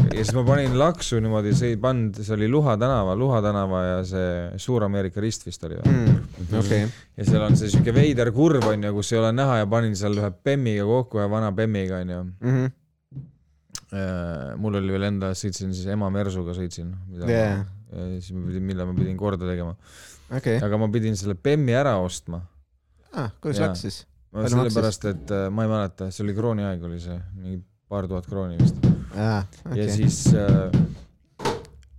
ja siis ma panin laksu niimoodi, see ei pannud, see oli Luha tänava, Luha tänava ja see Suur-Ameerika rist vist oli või
mm,? Okay.
ja seal on see siuke veider kurv onju, kus ei ole näha ja panin seal ühe bemmiga kokku, ühe vana bemmiga onju mm.
Mhm.
-hmm. Äh, mul oli veel enda, sõitsin siis ema Mersuga sõitsin, mida yeah. ma, siis ma pidin, mille ma pidin korda tegema
okay..
aga ma pidin selle bemmi ära ostma
ah,. kuidas läks siis?
sellepärast, et äh, ma ei mäleta, see oli krooni aeg oli see, mingi paar tuhat krooni vist
ah,. Okay.
ja siis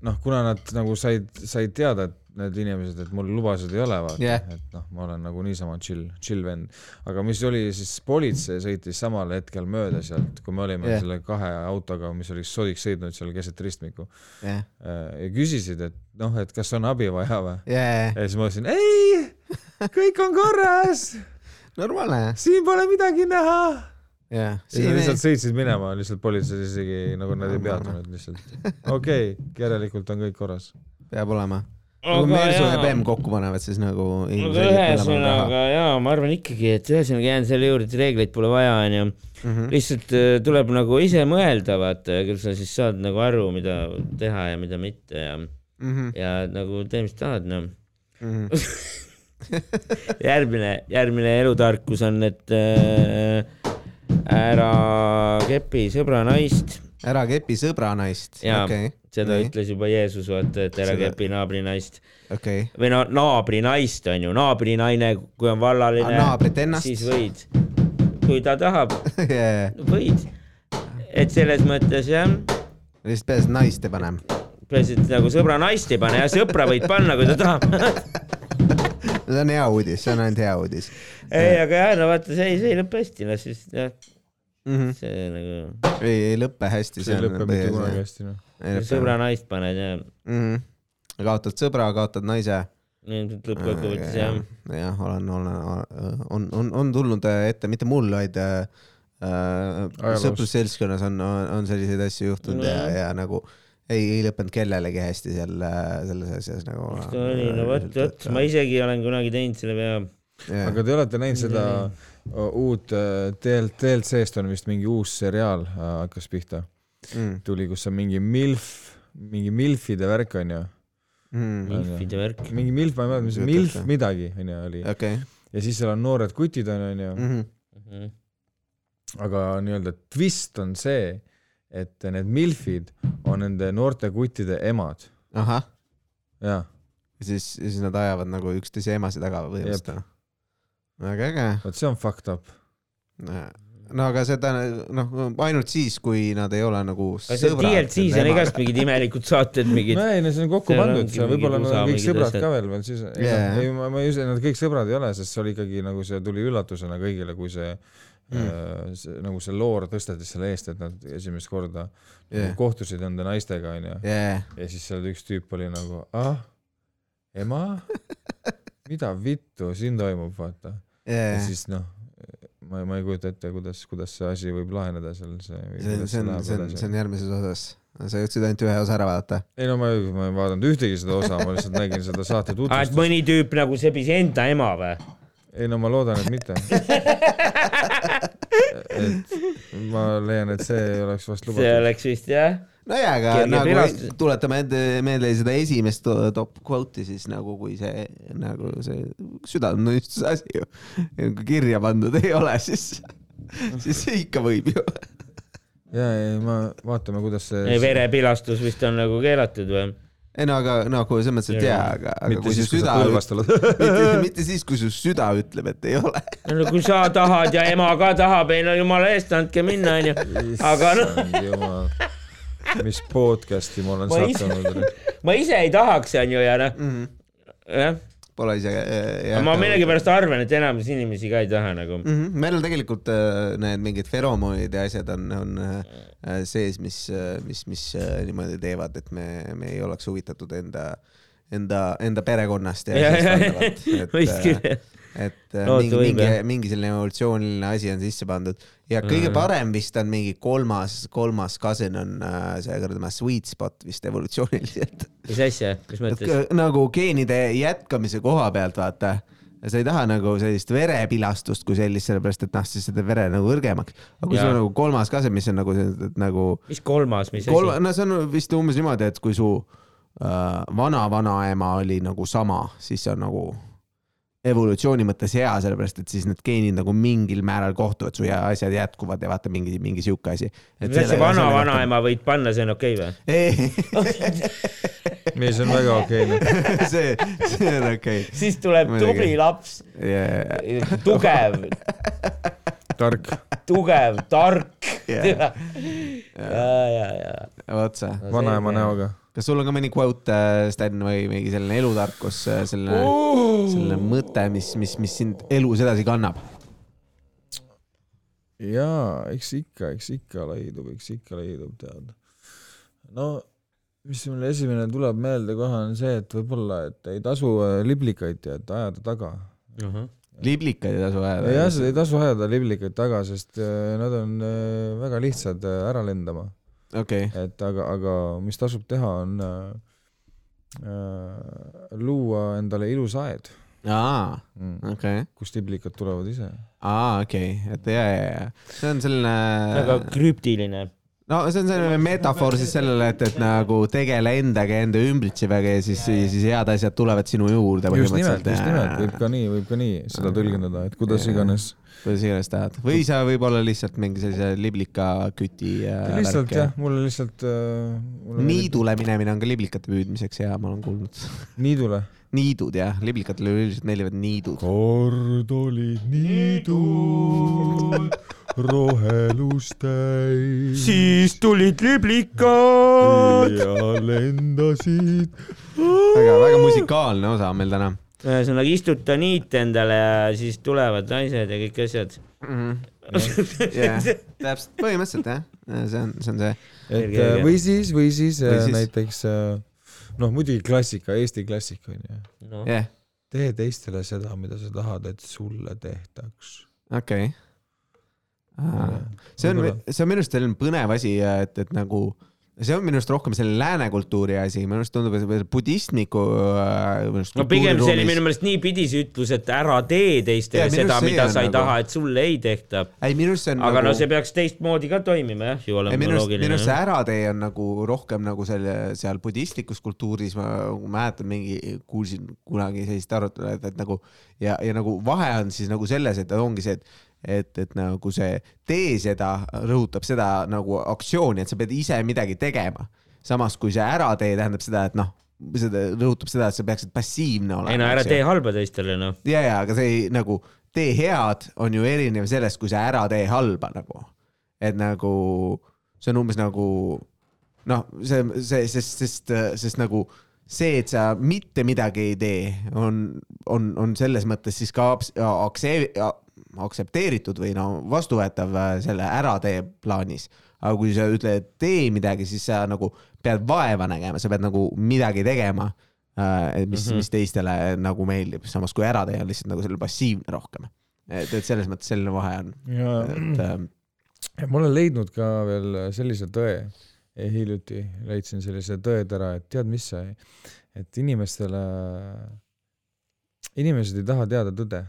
noh, kuna nad nagu said, said teada, et need inimesed, et mul lubasid ei ole, vaata yeah., et noh, ma olen nagu niisama chill, chill vend. aga mis oli siis, politsei sõitis samal hetkel mööda sealt, kui me olime yeah. selle kahe autoga, mis oli sodiks sõitnud seal keset ristmikku äh,
yeah..
ja küsisid, et noh, et kas on abi vaja või
yeah..
ja siis ma ütlesin ei, kõik on korras
normaalne.
siin pole midagi näha.
ja
siis nad lihtsalt sõitsid minema, lihtsalt politsei isegi nagu nad ei peatunud lihtsalt. okei okay,, järelikult on kõik korras.
peab olema aga kui Mersu ja BM kokku panevad, siis nagu
aga ühesõnaga jaa, ma arvan ikkagi, et ühesõnaga jään selle juurde, et reegleid pole vaja, onju. lihtsalt tuleb nagu ise mõelda, vaata, küll sa siis saad nagu aru, mida teha ja mida mitte ja mm,
Mhm.
-hmm. ja nagu tee, mis tahad, noh mm -hmm. järgmine, järgmine elutarkus on, et äh, ära kepi sõbra naist.
ära kepi sõbra naist, okei okay
seda Nii. ütles juba Jeesus, vaata, et ära seda... kepi naabri naist
okay..
või no naabri naist on ju, naabri naine, kui on vallaline, siis võid, kui ta tahab
yeah.
võid. et selles mõttes jah.
lihtsalt peaasi, et naist ei pane.
peaasi, et nagu sõbra naist ei pane ja sõpra võid panna, kui ta tahab
see on hea uudis, see on ainult hea uudis.
ei, aga jah, no vaata, see ei, see ei lõpe hästi, no siis jah
mm. -hmm.
see nagu.
ei, ei lõpe hästi.
see ei lõpe mitte kunagi hästi, noh.
sõbra naist paned ja
mm. -hmm. kaotad sõbra, kaotad naise.
ilmselt lõppkokkuvõttes jah.
jah, olen, olen, on, on, on tulnud ette, mitte mul, vaid äh, sõprusseltskonnas on, on, on selliseid asju juhtunud no. ja,
Mhm.
ja nagu ei, ei lõppenud kellelegi hästi seal selles asjas nagu.
mis ta oli, no vot, vot, ma isegi olen kunagi teinud selle vea
Yeah. aga te olete näinud seda uut äh, TL, DLC-st on vist mingi uus seriaal äh, hakkas pihta mm.. tuli, kus on mingi MILF, mingi MILFide värk onju
mm.. MILFide värk?
mingi MILF, ma ei mäleta, mis see MILF midagi onju oli
okay..
ja siis seal on noored kutid onju onju
mm.
Mhm.
-hmm.
aga nii-öelda twist on see, et need MILFid on nende noorte kuttide emad.
ahah.
jah
ja siis, siis nad ajavad nagu üksteise emasid taga põhimõtteliselt. väga äge.
vot see on fucked up.
no aga seda noh, ainult siis, kui nad ei ole nagu
sõbrad. DLC-s on igast mingid imelikud saated, mingid.
ei, no see on kokku pandud, seal võib-olla nad on kõik sõbrad asjad. ka veel veel siis yeah.. ei, ma, ma ei usu, et nad kõik sõbrad ei ole, sest see oli ikkagi nagu see tuli üllatusena kõigile, kui see Mm. see, nagu see loor tõsteti selle eest, et nad esimest korda yeah. kohtusid nende naistega, onju.
ja
siis seal üks tüüp oli nagu, ah, ema mida vittu siin toimub , vaata . ja
see
siis noh , ma , ma ei kujuta ette , kuidas , kuidas see asi võib laheneda seal , see .
on , see on , see on , see on järgmises osas . sa jõudsid ainult ühe osa ära vaadata .
ei no ma ei , ma ei vaadanud ühtegi seda osa , ma lihtsalt nägin seda
aa ,
saate
et
tutvustust .
mõni tüüp nagu sebis enda ema või ?
ei no ma loodan , et mitte . et ma leian , et see ei oleks vast
see
lubatud .
oleks vist jah .
nojaa , aga
Kerge
nagu
pilastus.
tuletame ette meelde seda esimest to- top quote'i siis nagu , kui see nagu see südametunnistuse asi ju kui kirja pandud ei ole , siis , siis ikka võib ju .
ja ei , ma , vaatame , kuidas see .
verepilastus vist on nagu keelatud või ?
ei no aga nagu selles mõttes , et jaa , aga , aga
mitte
kui su
siis , kui sa
süda ,
põlvest oled .
mitte, mitte siis , kui su süda ütleb , et ei ole .
no nagu, kui sa tahad ja ema ka tahab , ei no jumala eest , andke minna , onju . aga noh ,
jumal , mis podcast'i ma olen
Ma ise-
sattunud .
ma ise ei tahaks , onju , ja noh ,
Mhm.
jah .
Pole ise äh, .
ma millegipärast arvan , et enamus inimesi ka ei taha nagu .
mm . -hmm. meil on tegelikult äh, need mingid feromoonid ja asjad on , on äh, sees , mis , mis , mis äh, niimoodi teevad , et me , me ei oleks huvitatud enda , enda , enda perekonnast ja asjast valdavalt.
võiks
et ,
küll .
et äh,
Loota
mingi ,
võib,
mingi
jah. ,
mingi selline emotsiooniline asi on sisse pandud ja kõige parem vist on mingi kolmas , kolmas kasin on äh, see kuradi sweet spot vist evolutsiooniliselt .
mis asja , mis
et
mõttes ?
kõ- nagu geenide jätkamise koha pealt , vaata . sa ei taha nagu sellist verepilastust kui sellist , sellepärast et noh , siis see teeb vere nagu õrgemaks . aga kui sul
Jaa.
on nagu kolmas kase , mis on nagu , nagu
mis kolmas , mis
kolm ,
asi ?
no see on vist umbes niimoodi , et kui su äh, vana-vanaema oli nagu sama , siis see on nagu evolutsiooni mõttes hea , sellepärast et siis need geenid nagu mingil määral kohtuvad su ja asjad jätkuvad ja vaata mingi , mingi sihuke asi .
kas see vana-vanaema võid panna , see on okei okay, või ?
ei , see on väga okei okay. .
see , see on okei
siis tuleb
Muidugi.
tubli laps ,
yeah. .
tugev ,
tark .
tugev , tark .
Jah.
ja , ja , ja .
vot sa ,
vanaema näoga .
kas sul on ka mõni quote , Sten , või mingi selline elutarkus , selline oh. , selline mõte , mis , mis , mis sind elus edasi kannab ?
jaa , eks ikka , eks ikka leidub , eks ikka leidub , tead . no , mis mul esimene tuleb meelde kohe on see , et võib-olla , et ei tasu äh, liblikaid tead ajada taga .
liblikaid ei tasu
jah ,
ajada .
ei tasu ajada liblikaid taga , sest äh, nad on äh, väga lihtsad äh, ära lendama .
okei ,
et aga , aga mis tasub teha , on äh, äh, luua endale ilus aed
aa ,
mm, ,
okei ,
kust liblikad tulevad ise .
aa , okei , et ja , ja , ja see on selline ,
väga krüptiline .
no see on selline metafoor siis sellele , et , et nagu tegele endaga , enda ümbritsevaga ja siis , siis head asjad tulevad sinu juurde .
just nimelt , just nimelt , võib ka nii , võib ka nii seda tõlgendada , et kuidas
Jaa.
iganes .
kuidas iganes tahad või sa võib-olla lihtsalt mingi sellise liblikaküti .
lihtsalt jah , mulle lihtsalt äh, mulle
niidule minemine on ka liblikate püüdmiseks hea , ma olen kuulnud .
meeldib- niidule .
niidud jah , liblikatele üldiselt meeldivad niidud .
kord olid niidud rohelust täis .
siis tulid liblikad .
ja lendasid .
väga , väga musikaalne osa on meil täna
ühesõnaga istuta niit endale ja siis tulevad naised ja kõik asjad .
mm . -hmm. Yeah. täpselt , põhimõtteliselt jah , see on , see on see .
et
Selge,
äh,
selge.
või siis , või siis
Või
äh,
siis-
näiteks äh, noh , muidugi klassika , Eesti klassika on ju .
noh ,
jah ,
tee teistele seda , mida sa tahad , et sulle tehtaks .
okei . see on , see on minu arust selline põnev asi , et , et nagu see on minu arust rohkem selline lääne kultuuri asi , minu arust tundub , et äh, budistliku .
no pigem see oli minu meelest niipidi see ütlus , et ära tee teistele
Jaa, minu
seda ,
arust see
mida sa
on
ei
nagu-
taha , et sulle ei tehta .
ei , minu arust see on
aga
nagu...
no see peaks teistmoodi ka toimima jah , ju
ei ,
olema
minu arust , minu
loogiline
arust see . äratee on nagu rohkem nagu selle seal budistlikus kultuuris , ma mäletan mingi , kuulsin kunagi sellist arutelu , et , et nagu ja , ja nagu vahe on siis nagu selles , et ongi see , et et , et nagu see tee seda rõhutab seda nagu aktsiooni , et sa pead ise midagi tegema . samas kui see ära tee tähendab seda , et noh , seda rõhutab seda , et sa peaksid passiivne olema .
ei no ära tee halba teistele noh .
ja , ja aga see ei, nagu tee head on ju erinev sellest , kui sa ära tee halba nagu . et nagu see on umbes nagu noh , see , see , sest , sest , sest nagu see , et sa mitte midagi ei tee , on , on , on selles mõttes siis ka abs- akse- aktsepteeritud või no vastuvõetav äh, selle ära tee plaanis . aga kui sa ütled , tee midagi , siis sa nagu pead vaeva nägema , sa pead nagu midagi tegema mis
Mhm.
mm, -hmm. mis teistele nagu meeldib, samas kui ärateja on lihtsalt nagu selle passiivne rohkem. et, et selles mõttes selline vahe on.
Mhm.
et äh,
ja ma olen leidnud ka veel äh, sellise tõe, hiljuti leidsin sellise tõetera, et tead, mis see, et inimestele, inimesed ei taha teada tõde.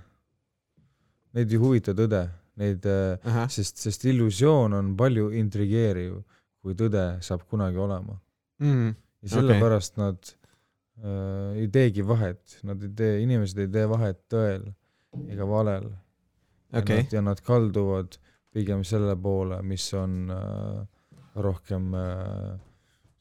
Neid ei huvita tõde, neid, äh, sest, sest illusioon on palju intrigeeriv, kui tõde saab kunagi olema
mm..
ja sellepärast okay. nad äh, ei teegi vahet, nad ei tee, inimesed ei tee vahet tõel ega valel
okay..
ja nad kalduvad pigem selle poole, mis on äh, rohkem äh,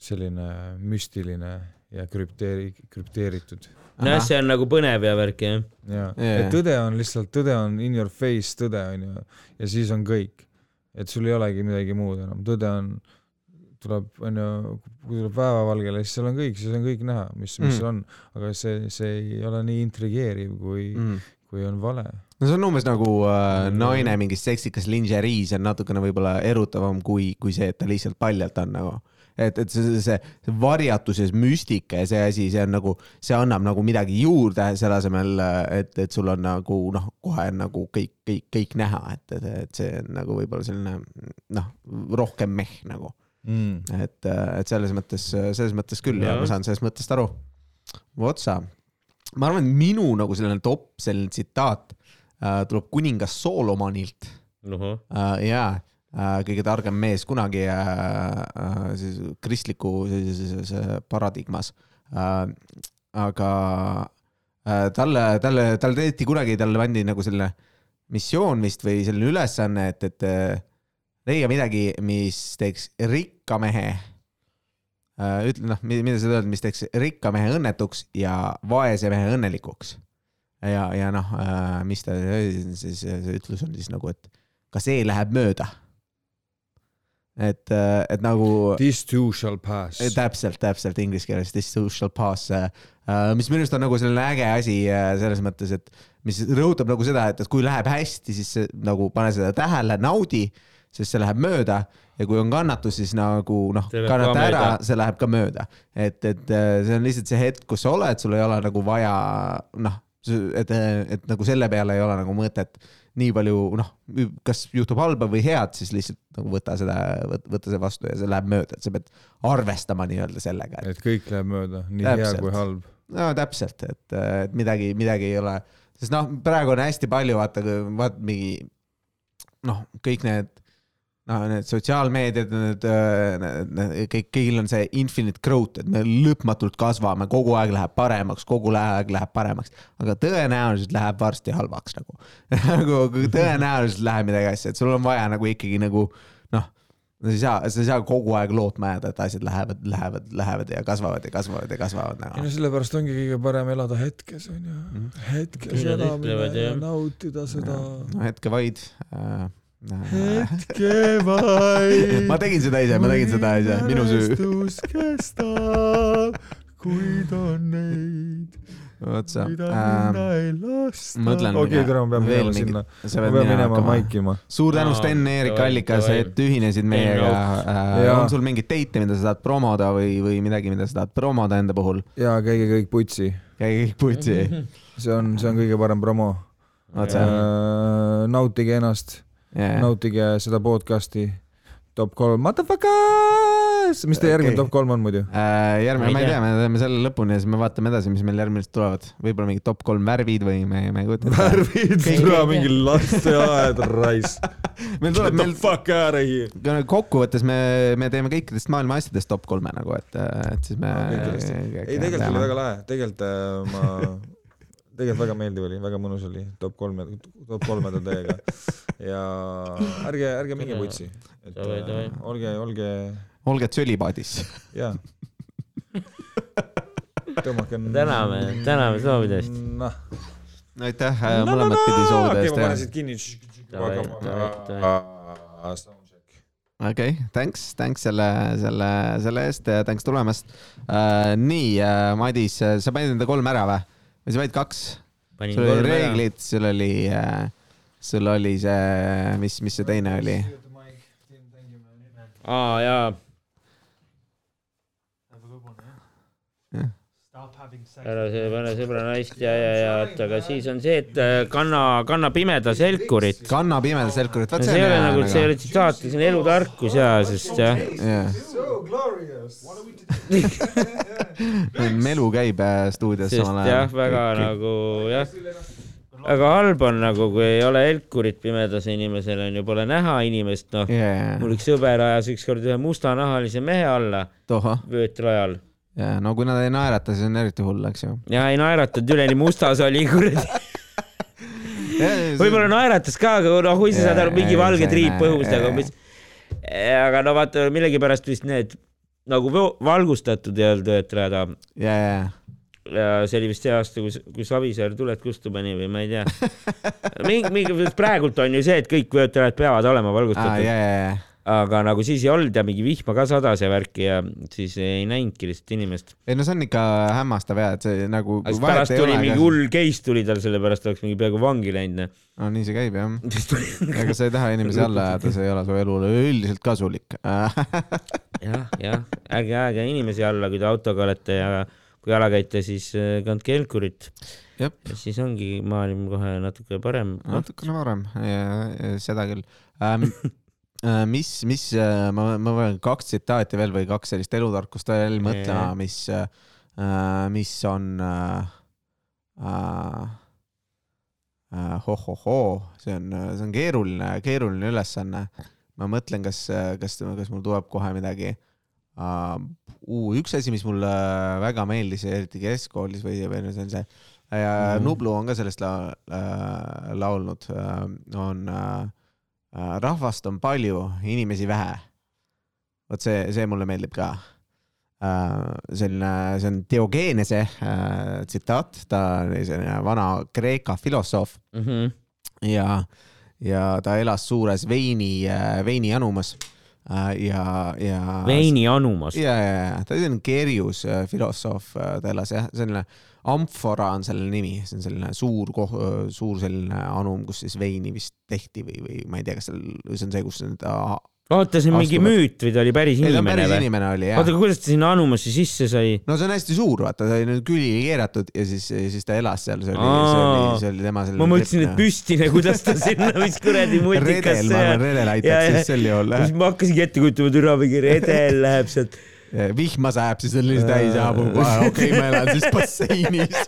selline müstiline ja krüpteeri-, krüpteeritud.
nojah, see on nagu põnev ja värk jah.
jaa, et tõde on lihtsalt, tõde on in your face tõde onju ja siis on kõik. et sul ei olegi midagi muud enam, tõde on, tuleb onju, kui tuleb päevavalgele, siis seal on kõik, siis on kõik näha, mis mm., mis seal on, aga see, see ei ole nii intrigeeriv, kui
Mhm.
mm., kui on vale
no see on umbes nagu äh, naine mingis seksikas lingeriis on natukene võib-olla erutavam kui, kui see, et ta lihtsalt paljalt on nagu. et, et see, see, see varjatus ja see müstika ja see asi, see on nagu, see annab nagu midagi juurde selle asemel, et, et sul on nagu noh, kohe on nagu kõik, kõik, kõik näha, et, et, et see on nagu võib-olla selline noh, rohkem meh nagu
mm..
et, äh, et selles mõttes, selles mõttes küll ja, ja ma saan sellest mõttest aru. vot sa ma arvan, et minu nagu selline top selline tsitaat Uh, tuleb kuningas Solomonilt
uh. -huh.
Uh, jaa uh,, kõige targem mees kunagi uh, uh, siis kristliku sellises äh, paradigmas uh,. aga uh, talle, talle, talle tehti kunagi, talle pandi nagu selline missioon vist või selline ülesanne, et, et uh, leia midagi, mis teeks rikka mehe uh,. ütle noh, mida sa ütled, mis teeks rikka mehe õnnetuks ja vaese mehe õnnelikuks ja, ja noh, mis ta siis, see ütlus on siis nagu, et ka see läheb mööda. et, et nagu.
This too shall pass.
Eh, täpselt, täpselt inglise keeles this too shall pass, eh. mis minu arust on nagu selline äge asi selles mõttes, et mis rõhutab nagu seda, et kui läheb hästi, siis nagu pane seda tähele, naudi, sest see läheb mööda ja kui on kannatus, siis nagu noh, kannata ära, see läheb ka mööda. et, et eh, see on lihtsalt see hetk, kus sa oled, sul ei ole nagu vaja noh et, et nagu selle peale ei ole nagu mõtet nii palju, noh, kas juhtub halba või head, siis lihtsalt nagu võta seda, võta see vastu ja see läheb mööda, et sa pead arvestama nii-öelda sellega.
et kõik läheb mööda, nii täpselt. hea kui halb.
no täpselt, et, et midagi, midagi ei ole, sest noh, praegu on hästi palju, vaata, vaat mingi noh, kõik need noh, need sotsiaalmeediad, need, need, kõik, kõigil on see infinite growth, et me lõpmatult kasvame, kogu aeg läheb paremaks, kogu aeg läheb paremaks, aga tõenäoliselt läheb varsti halvaks nagu nagu tõenäoliselt läheb midagi asja, et sul on vaja nagu ikkagi nagu noh, sa ei saa, sa ei saa kogu aeg lootma jääda, et asjad lähevad, lähevad, lähevad ja kasvavad ja kasvavad ja kasvavad nagu..
ei no sellepärast ongi kõige parem elada hetkes onju Ah. mm -hmm., hetkes
Küllad
elamine
ütlevad, jah.
ja nautida seda.
no hetke vaid äh,
hetke vaid .
ma tegin seda ise, ma tegin seda ise, minu süü .
mälestus kestab , kuid on neid ,
vot sa
mida
ähm,
minna ei lasta .
mõtlen,
okei
mida- ,
tere , ma pean
veel
minema
mingit-
sinna .
sa
ma
pead
pean
minema
minema
hakkama.
maikima .
suur tänu , Sten ,
Aa,
Eerik
davai,
Allikas ,
davai.
et ühinesid meiega Äh,
Ei, . no.
on sul mingeid teite , mida sa tahad promoda või , või midagi , mida sa tahad promoda enda puhul ?
ja käige kõik putsi ,
käige kõik putsi .
see on , see on kõige parem promo .
vot see on . Äh.
nautige ennast , nautige seda podcast'i . top kolm , motherfuckers , mis teie järgmine
Okei.
top kolm on muidu ?
Äh, järgmine ,
Ma
ma
ei
ei tea , me teeme selle lõpuni ja siis me vaatame edasi , mis meil järgmised tulevad . võib-olla mingid top kolm värvid või me , me ei kujuta ette .
värvid , tule mingi lasteaed , raisk .
meil tuleb , meil
fuck out of here .
kokkuvõttes me , me teeme kõikidest maailma asjadest top kolme nagu , et , et siis me .
Kõikidest. ei , tegelikult oli väga lahe , tegelikult äh, ma , tegelikult väga meeldiv oli , väga mõnus oli , top kolme , top kolmeda teiega ja ärge , ärge minge putsi , et
Davai,
äh,
davai.
olge , olge
olge tsölipaadis .
ja tõmmake .
täname , täname soovide eest .
noh ,
aitäh äh, mõlemat pidi soovide
okei ,
eest
ma
ja
panen siit kinni .
Davai, davai,
okei okay, , thanks , thanks selle , selle , selle eest ja thanks tulemast uh, . nii uh, , Madis , sa panid enda kolm ära või ? või sa panid kaks ?
panin
sul oli
kolm ära .
reeglid , sul oli uh, , sul oli see , mis , mis see teine oli ?
aa jaa . ära söö , ära sõbra naist ja , ja , ja , et aga siis on see , et äh, kanna , kanna pimeda selkurit .
kanna pimeda selkurit , vaat
see
see
ei
on
ole nagu , see ei
hea .
ole tsitaat , see on elutarkus ja , sest jah .
So glorious. What are we
melu käib äh, stuudios
sest
samal ajal .
jah , väga nagu jah , väga halb on nagu , kui ei ole helkurit pimedas inimesel on ju , pole näha inimest , noh .
jah .
mul üks sõber ajas ükskord ühe mustanahalise mehe alla
tohoh ,
vöötri ajal
jaa , no kui nad ei naerata , siis on eriti hull , eks ju .
ja ei naeratanud , üleni mustas oli , kuradi . võib-olla naeratas ka , aga noh , kui sa saad aru , mingi
Jaa,
valge
ei,
triip
ei,
põhjus , aga
ei.
mis , aga no vaata millegipärast vist need nagu vo- valgustatud ei olnud töötajad ,
ja , ja ,
see oli vist see aasta , kus , kus Savisaar tuled kustu pani või ma ei tea . mingi , mingi , praegult on ju see , et kõik töötajad peavad olema
ja ,
valgustatud ,
ja , ja ,
aga nagu siis ei olnud ja mingi vihma ka sadas ja värki ja siis ei näinudki lihtsalt inimest .
ei no see on ikka hämmastav ja , et see nagu .
aga siis pärast tuli mingi . hull case tuli tal , sellepärast oleks mingi peaaegu vangi läinud ,
no nii see käib jah .
noh .
ega sa ei taha inimesi alla ajada , see ei ole su elule üldiselt kasulik .
Noh. jah , jah , ärge ajage inimesi alla , kui te autoga olete ja kui jala käite , siis äh, kandke helkurit ,
jah ,
siis ongi maailm kohe natuke parem .
natukene varem , seda küll ähm, . äh, mis , mis , ma , ma pean kaks tsitaati veel või kaks sellist elutarkust veel mõtlema , mis , mis on äh, äh, äh, ho-ho-hoo , see on , see on keeruline , keeruline ülesanne . ma mõtlen , kas , kas , kas mul tuleb kohe midagi uh, . üks asi , mis mulle väga meeldis , eriti keskkoolis või , või no see on see ja mm. Nublu on ka sellest la, äh, laulnud , on äh, rahvast on palju , inimesi vähe . vot see , see mulle meeldib ka äh, selline , see on Diogenese äh, tsitaat , ta oli selline vana Kreeka filosoof
mhm.
ja , ja ta elas suures veini , veinianumas äh, ja , ja .
veini anumas .
ja , ja , ja ta oli selline kerjus äh, filosoof , ta elas jah , selline amfora on selle nimi , see on selline suur koh- , suur selline anum , kus siis veini vist tehti või , või ma ei tea , kas seal , see on see , kus need ,
oota , see on mingi
Astuvad-
müüt või ta oli päris
ei ta on
inimene
päris
või ?
inimene oli jah
oota , aga kuidas ta sinna anumasse sisse sai ?
no see on hästi suur , vaata , ta oli nüüd külili keeratud ja siis , siis ta elas seal , see oli , see
Aa.
oli , see oli tema selline .
ma mõtlesin , et püstine , kuidas ta sinna , mis kuradi multikas
redel , ma
see
arvan ,
on .
redel
Ja, ja.
aitaks siis sel juhul .
siis ma hakkasingi ette kujutama , türa mingi redel läheb sealt .
vihma sajab , siis on lihtsalt täis ja haabub , okei , ma elan siis basseinis .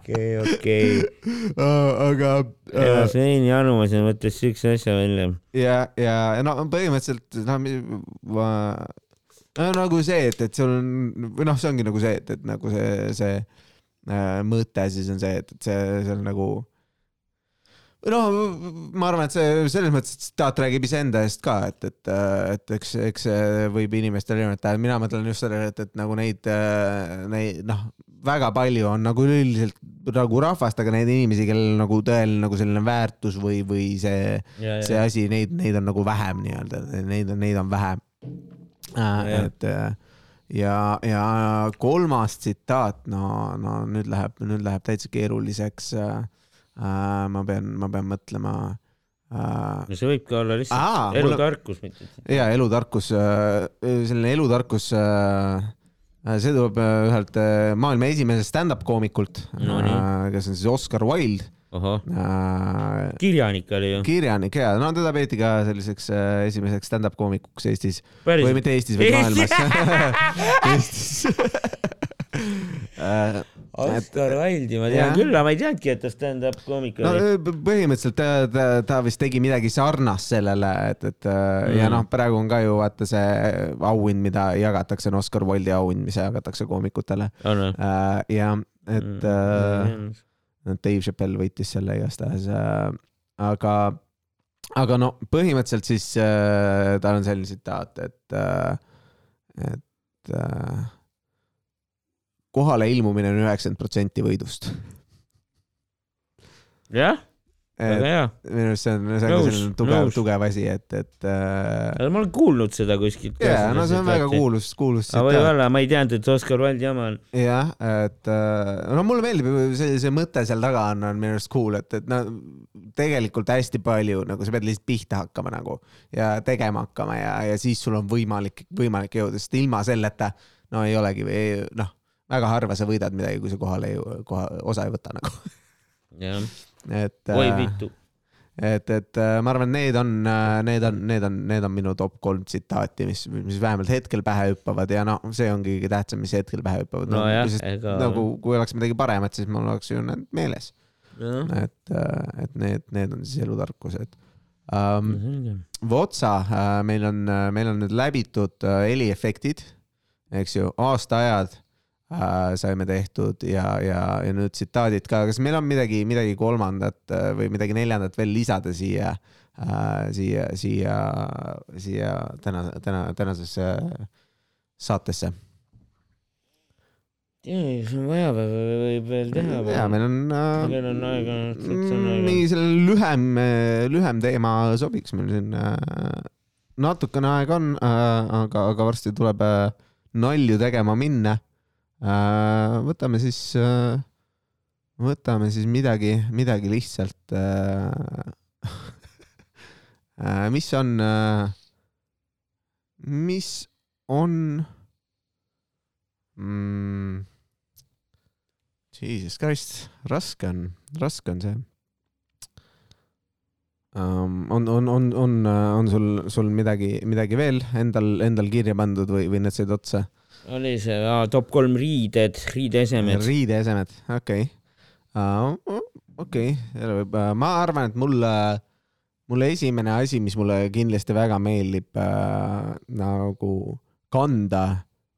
okei , okei .
aga .
elas veini anumas ja mõtles siukse asja välja .
ja , ja ja no põhimõtteliselt no, mi- ma, no nagu see , et , et sul on või noh , see ongi nagu see , et , et nagu see , see äh, mõte siis on see , et , et see seal nagu noh , ma arvan , et see selles mõttes et tsitaat räägib iseenda eest ka , et , et , et eks , eks see võib inimestel erinevat tähendada , mina mõtlen just sellele , et , et nagu neid , neid noh , väga palju on nagu üldiselt nagu rahvast , aga neid inimesi , kellel nagu tõeline nagu selline väärtus või , või see see asi , neid , neid on nagu vähem nii-öelda , neid on , neid on vähem .
jah.
et äh, ja , ja kolmas tsitaat , no , no nüüd läheb , nüüd läheb täitsa keeruliseks . ma pean , ma pean mõtlema . äh,
no see võib ka olla
Aa,
lihtsalt
mul-
elutarkus , mitte .
ja elutarkus , selline elutarkus , see tuleb äh, ühelt äh, maailma esimesest stand-up koomikult äh,
No nii. ,
kes on siis Oscar Wilde
ahah ,
äh,
kirjanik oli ju .
kirjanik ja no teda peeti ka selliseks äh, esimeseks stand-up koomikuks Eestis
Päriselt?
või mitte Eestis , vaid
Eesti-
maailmas . Eestis äh, .
Oscar Wilde'i ma tean
Jah.
küll , aga ma ei teadngi , et ta stand-up koomik
no
oli .
p- põhimõtteliselt ta, ta, ta vist tegi midagi sarnast sellele , et , et mm. ja noh , praegu on ka ju vaata see auhind , mida jagatakse , on Oscar Wilde'i auhind , mis jagatakse koomikutele
on või ?
äh, ja et äh, No Dave Chappelle võitis selle igastahes äh, , aga , aga no põhimõtteliselt siis äh, tal on selline tsitaat , et äh, , et äh, kohale ilmumine on üheksakümmend protsenti võidust .
jah , väga
minu
hea ,
arust see on , see on ka
Nõus,
selline tugev
nõus. ,
tugev asi , et , et äh,
aga ma olen kuulnud seda kuskilt .
jaa , no see on väga . kuulus , kuulus
aga
tsitaat .
võib-olla , ma ei teadnud , et Oscar Wilde jama on .
jah , et äh, no mulle meeldib see , see mõte seal taga on , on minu arust cool , et , et no tegelikult hästi palju nagu sa pead lihtsalt pihta hakkama nagu ja tegema hakkama ja , ja siis sul on võimalik , võimalik jõuda , sest ilma selleta no ei olegi või noh, väga harva sa võidad midagi, kui sa kohale ei, koha , osa ei võta nagu .
jah ,
et ,
oi pitu .
et , et äh, ma arvan , need on , need on , need on , need on minu top kolm tsitaati , mis , mis vähemalt hetkel pähe hüppavad ja noh , see ongi kõige tähtsam , mis hetkel pähe hüppavad .
nojah , ega
nagu kui oleks midagi paremat , siis mul oleks ju need meeles ,
jah,
et , et need , need on siis elutarkused um, .
selge.
Votsa , meil on , meil on nüüd läbitud äh, heliefektid , eks ju , aastaajad äh, saime tehtud ja , ja , ja nüüd tsitaadid ka , kas meil on midagi , midagi kolmandat äh, või midagi neljandat veel lisada siia , siia , siia , siia täna , täna , tänasesse saatesse ?
Ei, see on vaja või , või võib veel teha või
ja ? meil on äh,
meil on aega , üldse on
mm,
aega .
mingi selle lühem , lühem teema sobiks meil siin . natukene aega on , aga , aga varsti tuleb äh, nalju tegema minna . võtame siis , võtame siis midagi , midagi lihtsalt . äh, mis on , mis on mm, ? Jesus Christ , raske on , raske on see um, . on , on , on , on , on sul , sul midagi , midagi veel endal , endal kirja pandud või , või need said otsa ?
oli see aa, top kolm riided , riideesemed .
riideesemed , okei okay. . okei , jälle võib , ma arvan , et mul , mul esimene asi , mis mulle kindlasti väga meeldib äh, nagu kanda ,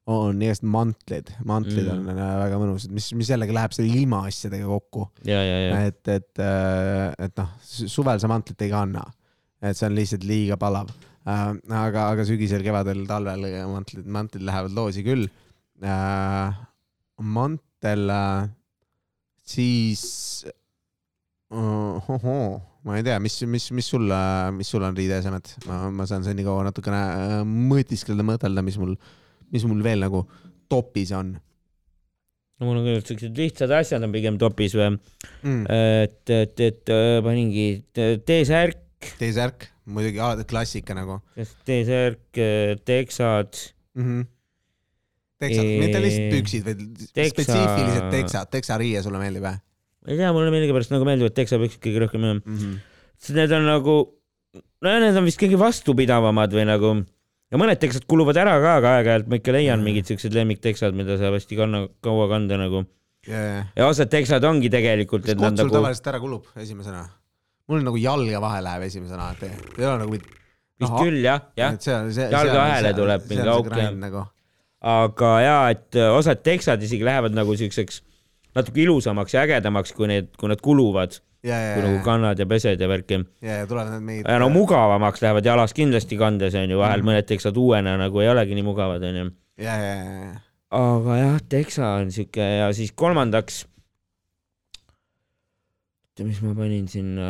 on igast mantlid . mantlid
Mm.
mm. on äh, väga mõnusad , mis , mis jällegi läheb selle ilmaasjadega kokku .
ja , ja , ja ,
et , et , et noh , suvel sa mantlit ei kanna , et see on lihtsalt liiga palav . aga , aga sügisel , kevadel , talvel mantlid , mantlid lähevad loosi küll . mantel , siis , ma ei tea , mis , mis , mis sul , mis sul on riideesemed , ma , ma saan senikaua natukene äh, mõtiskleda , mõtelda , mis mul , mis mul veel nagu topis on
no mul on küll siuksed lihtsad asjad on pigem topis või ,
mm. .
et , et , et äh, paningi t- T-särk ,
T-särk , muidugi alati klassika nagu
T-särk , teksad ,
mm . -hmm. teksad
Eee,
eee... , mitte lihtsalt püksid , vaid teksa...
teksa-
spetsiifilised teksad , teksariie sulle meeldib või
ma ei tea , mulle millegipärast nagu meeldivad teksapüksid kõige rohkem jah ,
mm ? -hmm.
sest need on nagu , nojah , need on vist kõige vastupidavamad või nagu ja mõned teksad kuluvad ära ka , aga aeg-ajalt ma ikka leian mingid siuksed lemmikteksad , mida saab hästi kanna , kaua kanda nagu
Yeah.
ja osad teksad ongi tegelikult ,
kas
et nad
kots sul
nagu
tavaliselt ära kulub esimesena ? mul nagu jalga vahe läheb esimesena alati , ei ole nagu mit- .
vist küll jah , jah , Jalga vahele tuleb mingi auk ja-
nagu. .
aga ja et äh, osad teksad isegi lähevad nagu siukseks natuke ilusamaks ja ägedamaks , kui need , kui nad kuluvad ,
ja , ja ,
kui nagu
ja ,
kannad ja pesed ja värki .
ja , ja tulevad need mingid .
ja no mugavamaks lähevad jalas kindlasti kandes onju , vahel
Mhm.
mõned teksad uuena nagu ei olegi nii mugavad onju .
ja , ja , ja , ja ,
aga jah , teksa on siuke ja siis kolmandaks . oota , mis ma panin sinna ,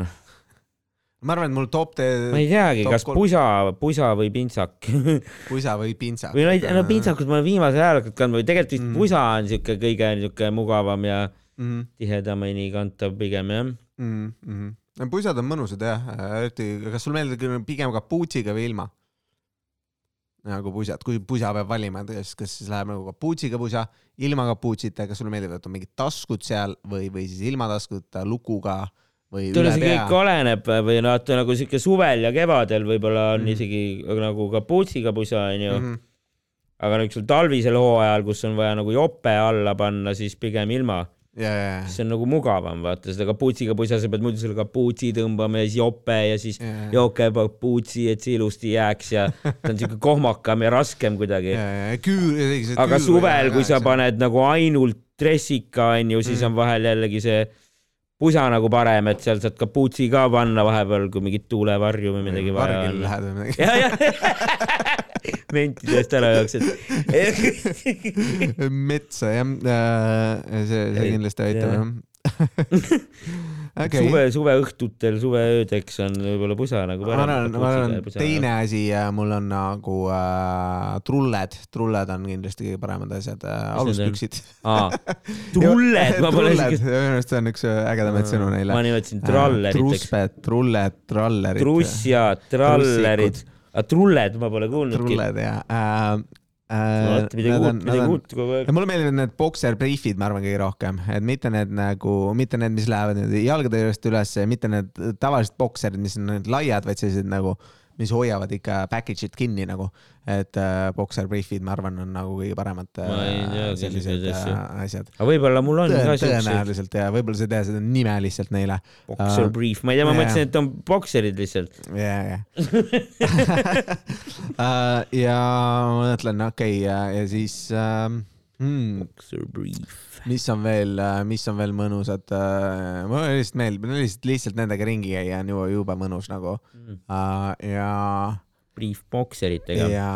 ma arvan , et mul top
ma
tee
ei teagi ,
Top
kas
kolm.
pusa , pusa või pintsak .
pusa või pintsak .
või no ei ,
Äh.
no pintsakut ma olen viimasel ajal hakanud kandma või tegelikult vist
Mm.
pusa on siuke kõige siuke mugavam ja
mm .
tihedamini kantav pigem jah .
-hmm. Mm -hmm. pusad on mõnusad jah , eriti kas sul meeldib küll pigem kapuutsiga või ilma ? nagu pusad , kui pusa peab valima , kas , kas siis läheb nagu kapuutsiga pusa , ilma kapuutsita , kas sulle meeldib , et on mingid taskud seal või , või siis ilma taskuta lukuga või
tule
üle
see kõik
pea .
oleneb või noh , et nagu siuke suvel ja kevadel võib-olla on
Mhm.
isegi nagu kapuutsiga pusa onju ,
-hmm.
aga niisugusel talvisel hooajal , kus on vaja nagu jope alla panna , siis pigem ilma ,
ja , ja ,
see on nagu mugavam , vaata seda kapuutsiga pusa , sa pead muidu selle kapuutsi tõmbama ja siis jope ja siis
ja , ja ,
jooke kapuutsi , et see ilusti jääks ja ta on siuke kohmakam ja raskem kuidagi
ja , ja küür .
aga suvel , kui sa . paned nagu ainult dressika , onju , siis
Mm.
on vahel jällegi see pusa nagu parem , et seal saad kapuutsi ka panna vahepeal , kui mingit tuulevarju või midagi vaja
vargil
on .
lähed või midagi .
ja , ja mentidest ära jooksed .
metsa jah , see , see
Et,
kindlasti aitab
jah.
jah Okei.
suve , suveõhtutel , suveöödeks on võib-olla pusa nagu
ma arvan ,
parem .
ma arvan , teine asi , mul on nagu äh, trulled , trulled on kindlasti kõige paremad asjad äh, ,
Mis need on?
aluspüksid .
aa , trulled , ma pole
isegi .
isegi .
minu meelest see on üks ägedamaid sõnu neile Äh,
ma . nimetasin tralleriteks .
trusped , trulled , trallerid .
truss ja trallerid . aga trulled ma pole kuulnudki .
trulled ja äh,
alati midagi uut , midagi uut kogu aeg
ja . mulle meeldivad need bokser briifid , ma arvan , kõige rohkem , et mitte need nagu , mitte need , mis lähevad nüüd jalgade juurest üles , mitte need tavalised bokserid , mis on need laiad , vaid sellised nagu , mis hoiavad ikka package'it kinni nagu . et äh, bokser briifid , ma arvan , on nagu kõige paremad
Ma ei
äh,
teagi
sellised
selliseid
äh,
asju.
asjad .
aga võib-olla mul on ka siukseid
tõenäoliselt ja võib-olla sa ei tea seda nime lihtsalt neile .
bokser
Äh,
brief , ma ei tea , ma
jaa.
mõtlesin , et on bokserid lihtsalt .
ja , ja . Äh, ja ma mõtlen , okei , ja siis ähm, hmm.
bokser brief .
mis on veel , mis on veel mõnusad , mulle lihtsalt meeldib , lihtsalt , lihtsalt nendega ringi käia on ju jube mõnus nagu .
Mm.
ja ,
brief bokseritega .
ja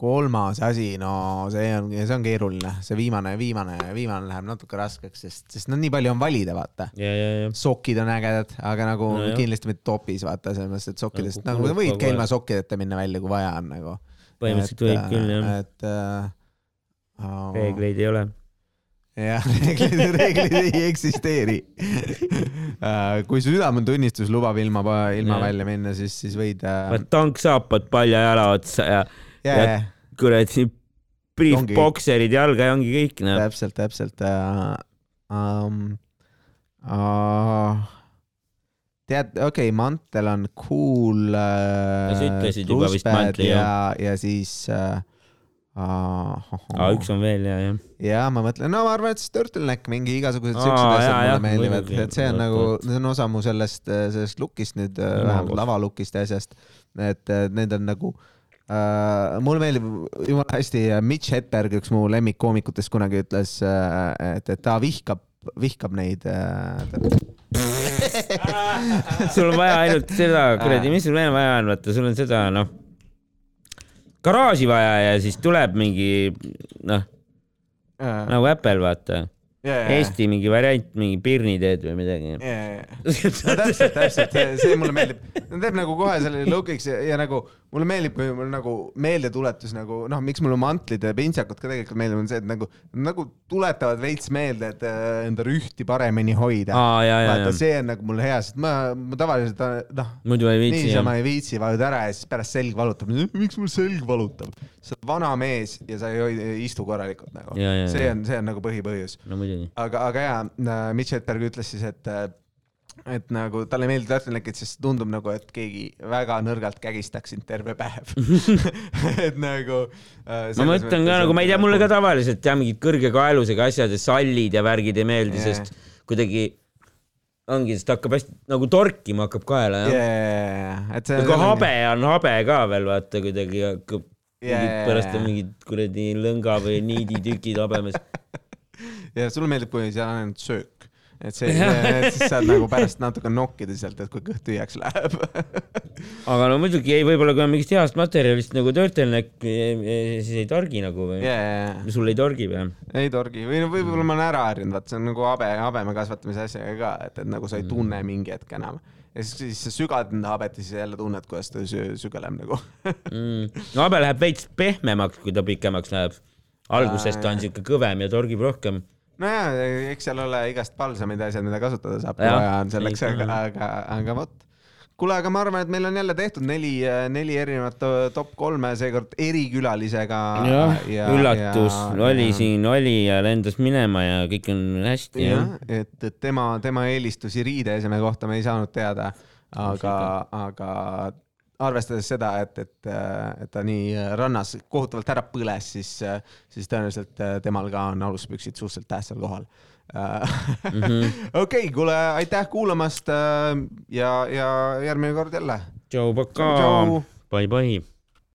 kolmas asi , no see on , see on keeruline , see viimane , viimane , viimane läheb natuke raskeks , sest , sest no nii palju on valida , vaata
ja , ja , ja .
sokid on ägedad , aga nagu no,
Nojah.
kindlasti mitte topis , vaata , selles mõttes , et sokkidest
Nagu
nagu, nagu võid
kulub
ka
kogu
ilma
aeg.
sokkideta minna välja , kui vaja on nagu .
põhimõtteliselt võib küll jah ,
et äh, oh,
reegleid ei ole .
jah , reeglid , reeglid ei eksisteeri . kui su südametunnistus lubab ilma , ilma
Jah.
yeah. välja minna , siis , siis võid äh, .
vaat tanksaapad palja jala otsa ja
Yeah,
ja-
yeah,
kuradi brief
Ongi kõik.
bokserid jalga ja ongi kõik noh .
täpselt , täpselt äh, . Um, uh, tead , okei okay, , mantel on cool äh, .
Ja sa ütlesid juba vist mantli,
ja , ja siis äh, . Uh,
aa , üks on veel ja , jah .
ja ma mõtlen , no ma arvan , et siis turtleneck , mingi igasugused
Aa,
siuksed asjad
jaa,
mulle
jah,
meeldivad ,
muidugi.
et see on nagu , see on osa mu sellest , sellest lookist nüüd , vähemalt lavalukist ja asjast . et äh, need on nagu äh, , mulle meeldib jumala hästi , Mitch Hedberg , üks mu lemmikkoomikutest kunagi ütles , et , et ta vihkab , vihkab neid äh, .
sul on vaja ainult seda , kuradi , mis sul veel vaja on , vaata , sul on seda , noh , garaaži vaja ja siis tuleb mingi , noh , nagu Apple , vaata . Eesti mingi variant , mingi pirni teed või midagi .
no täpselt , täpselt , see mulle meeldib , ta teeb nagu kohe selle lookiks ja, ja nagu mulle meeldib , kui mul nagu meeldetuletus nagu noh , miks mulle mantlid ja pintsakud ka tegelikult meeldivad , on see , et nagu , nagu tuletavad veits meelde , et äh, enda rühti paremini hoida .
aa , ja , ja ,
vaata ,
ja .
see on nagu mul hea , sest ma , ma tavaliselt äh, noh ,
muidu ei viitsi .
niisama ei viitsi , vajud ära ja siis pärast selg valutab . miks mul selg valutab ? sa oled vana mees ja sa ei hoi- ei istu korralikult nagu .
Ja, ja,
see
ja.
on , see on nagu põhipõhjus
no muidugi .
aga , aga jaa , Mitch Hedberg ütles siis , et , et nagu talle ei meeldi tartlanekid , sest tundub nagu , et keegi väga nõrgalt kägistaks sind terve päev . et nagu .
ma mõtlen ka nagu , ma ei tea , mulle ka . tavaliselt jah , mingid kõrge kaelusega asjad ja sallid ja värgid ei meeldi
Jaa.
yeah. , sest kuidagi ongi , sest hakkab hästi nagu torkima hakkab kaela jah yeah. .
et
aga
see .
Nagu habe . on habe ka veel vaata kuidagi hakkab
Jaa,
yeah.
jaa, ,
pärast
jaa.
on mingid kuradi lõnga või niiditükid habemes .
ja sulle meeldib , kui seal on ainult söök . et see , siis saad nagu pärast natuke nokkida sealt , et kui kõht tühjaks läheb .
aga no muidugi ei , võib-olla kui on mingist heast materjalist nagu turtleneck , eh, siis ei torgi nagu või yeah. ?
jajah ,
sul ei torgi või ?
ei torgi või no
Mm.
võib-olla ma olen ära harjunud , vaat see on nagu habe , habeme kasvatamise asjaga ka , et , et nagu sa
Mm.
ei tunne mingi hetk enam . ja siis , siis sa sügad enda habet ja siis jälle tunned , kuidas ta sü- sügeleb nagu
mm. . no habe läheb veits pehmemaks , kui ta pikemaks läheb . alguses ta on siuke kõvem ja torgib rohkem .
nojaa , eks seal ole igast palsamid ja asjad , mida kasutada saab , kui
Jah,
vaja on selleks ,
ei,
aga , aga , aga vot . kuule , aga ma arvan , et meil on jälle tehtud neli , neli erinevat to- top kolme , seekord erikülalisega .
jah , üllatus ja, oli ja. . siin , oli ja lendas minema ja kõik on hästi ja,
jah , et , et tema , tema eelistusi riideeseme kohta me ei saanud teada , aga , aga arvestades seda , et , et , et ta nii rannas kohutavalt ära põles , siis , siis tõenäoliselt temal ka on aluspüksid suhteliselt tähtsal kohal . okei , kuule , aitäh kuulamast äh, ja , ja järgmine kord jälle
ja. . tšau , pakaa
Tšau. ,
bye-bye .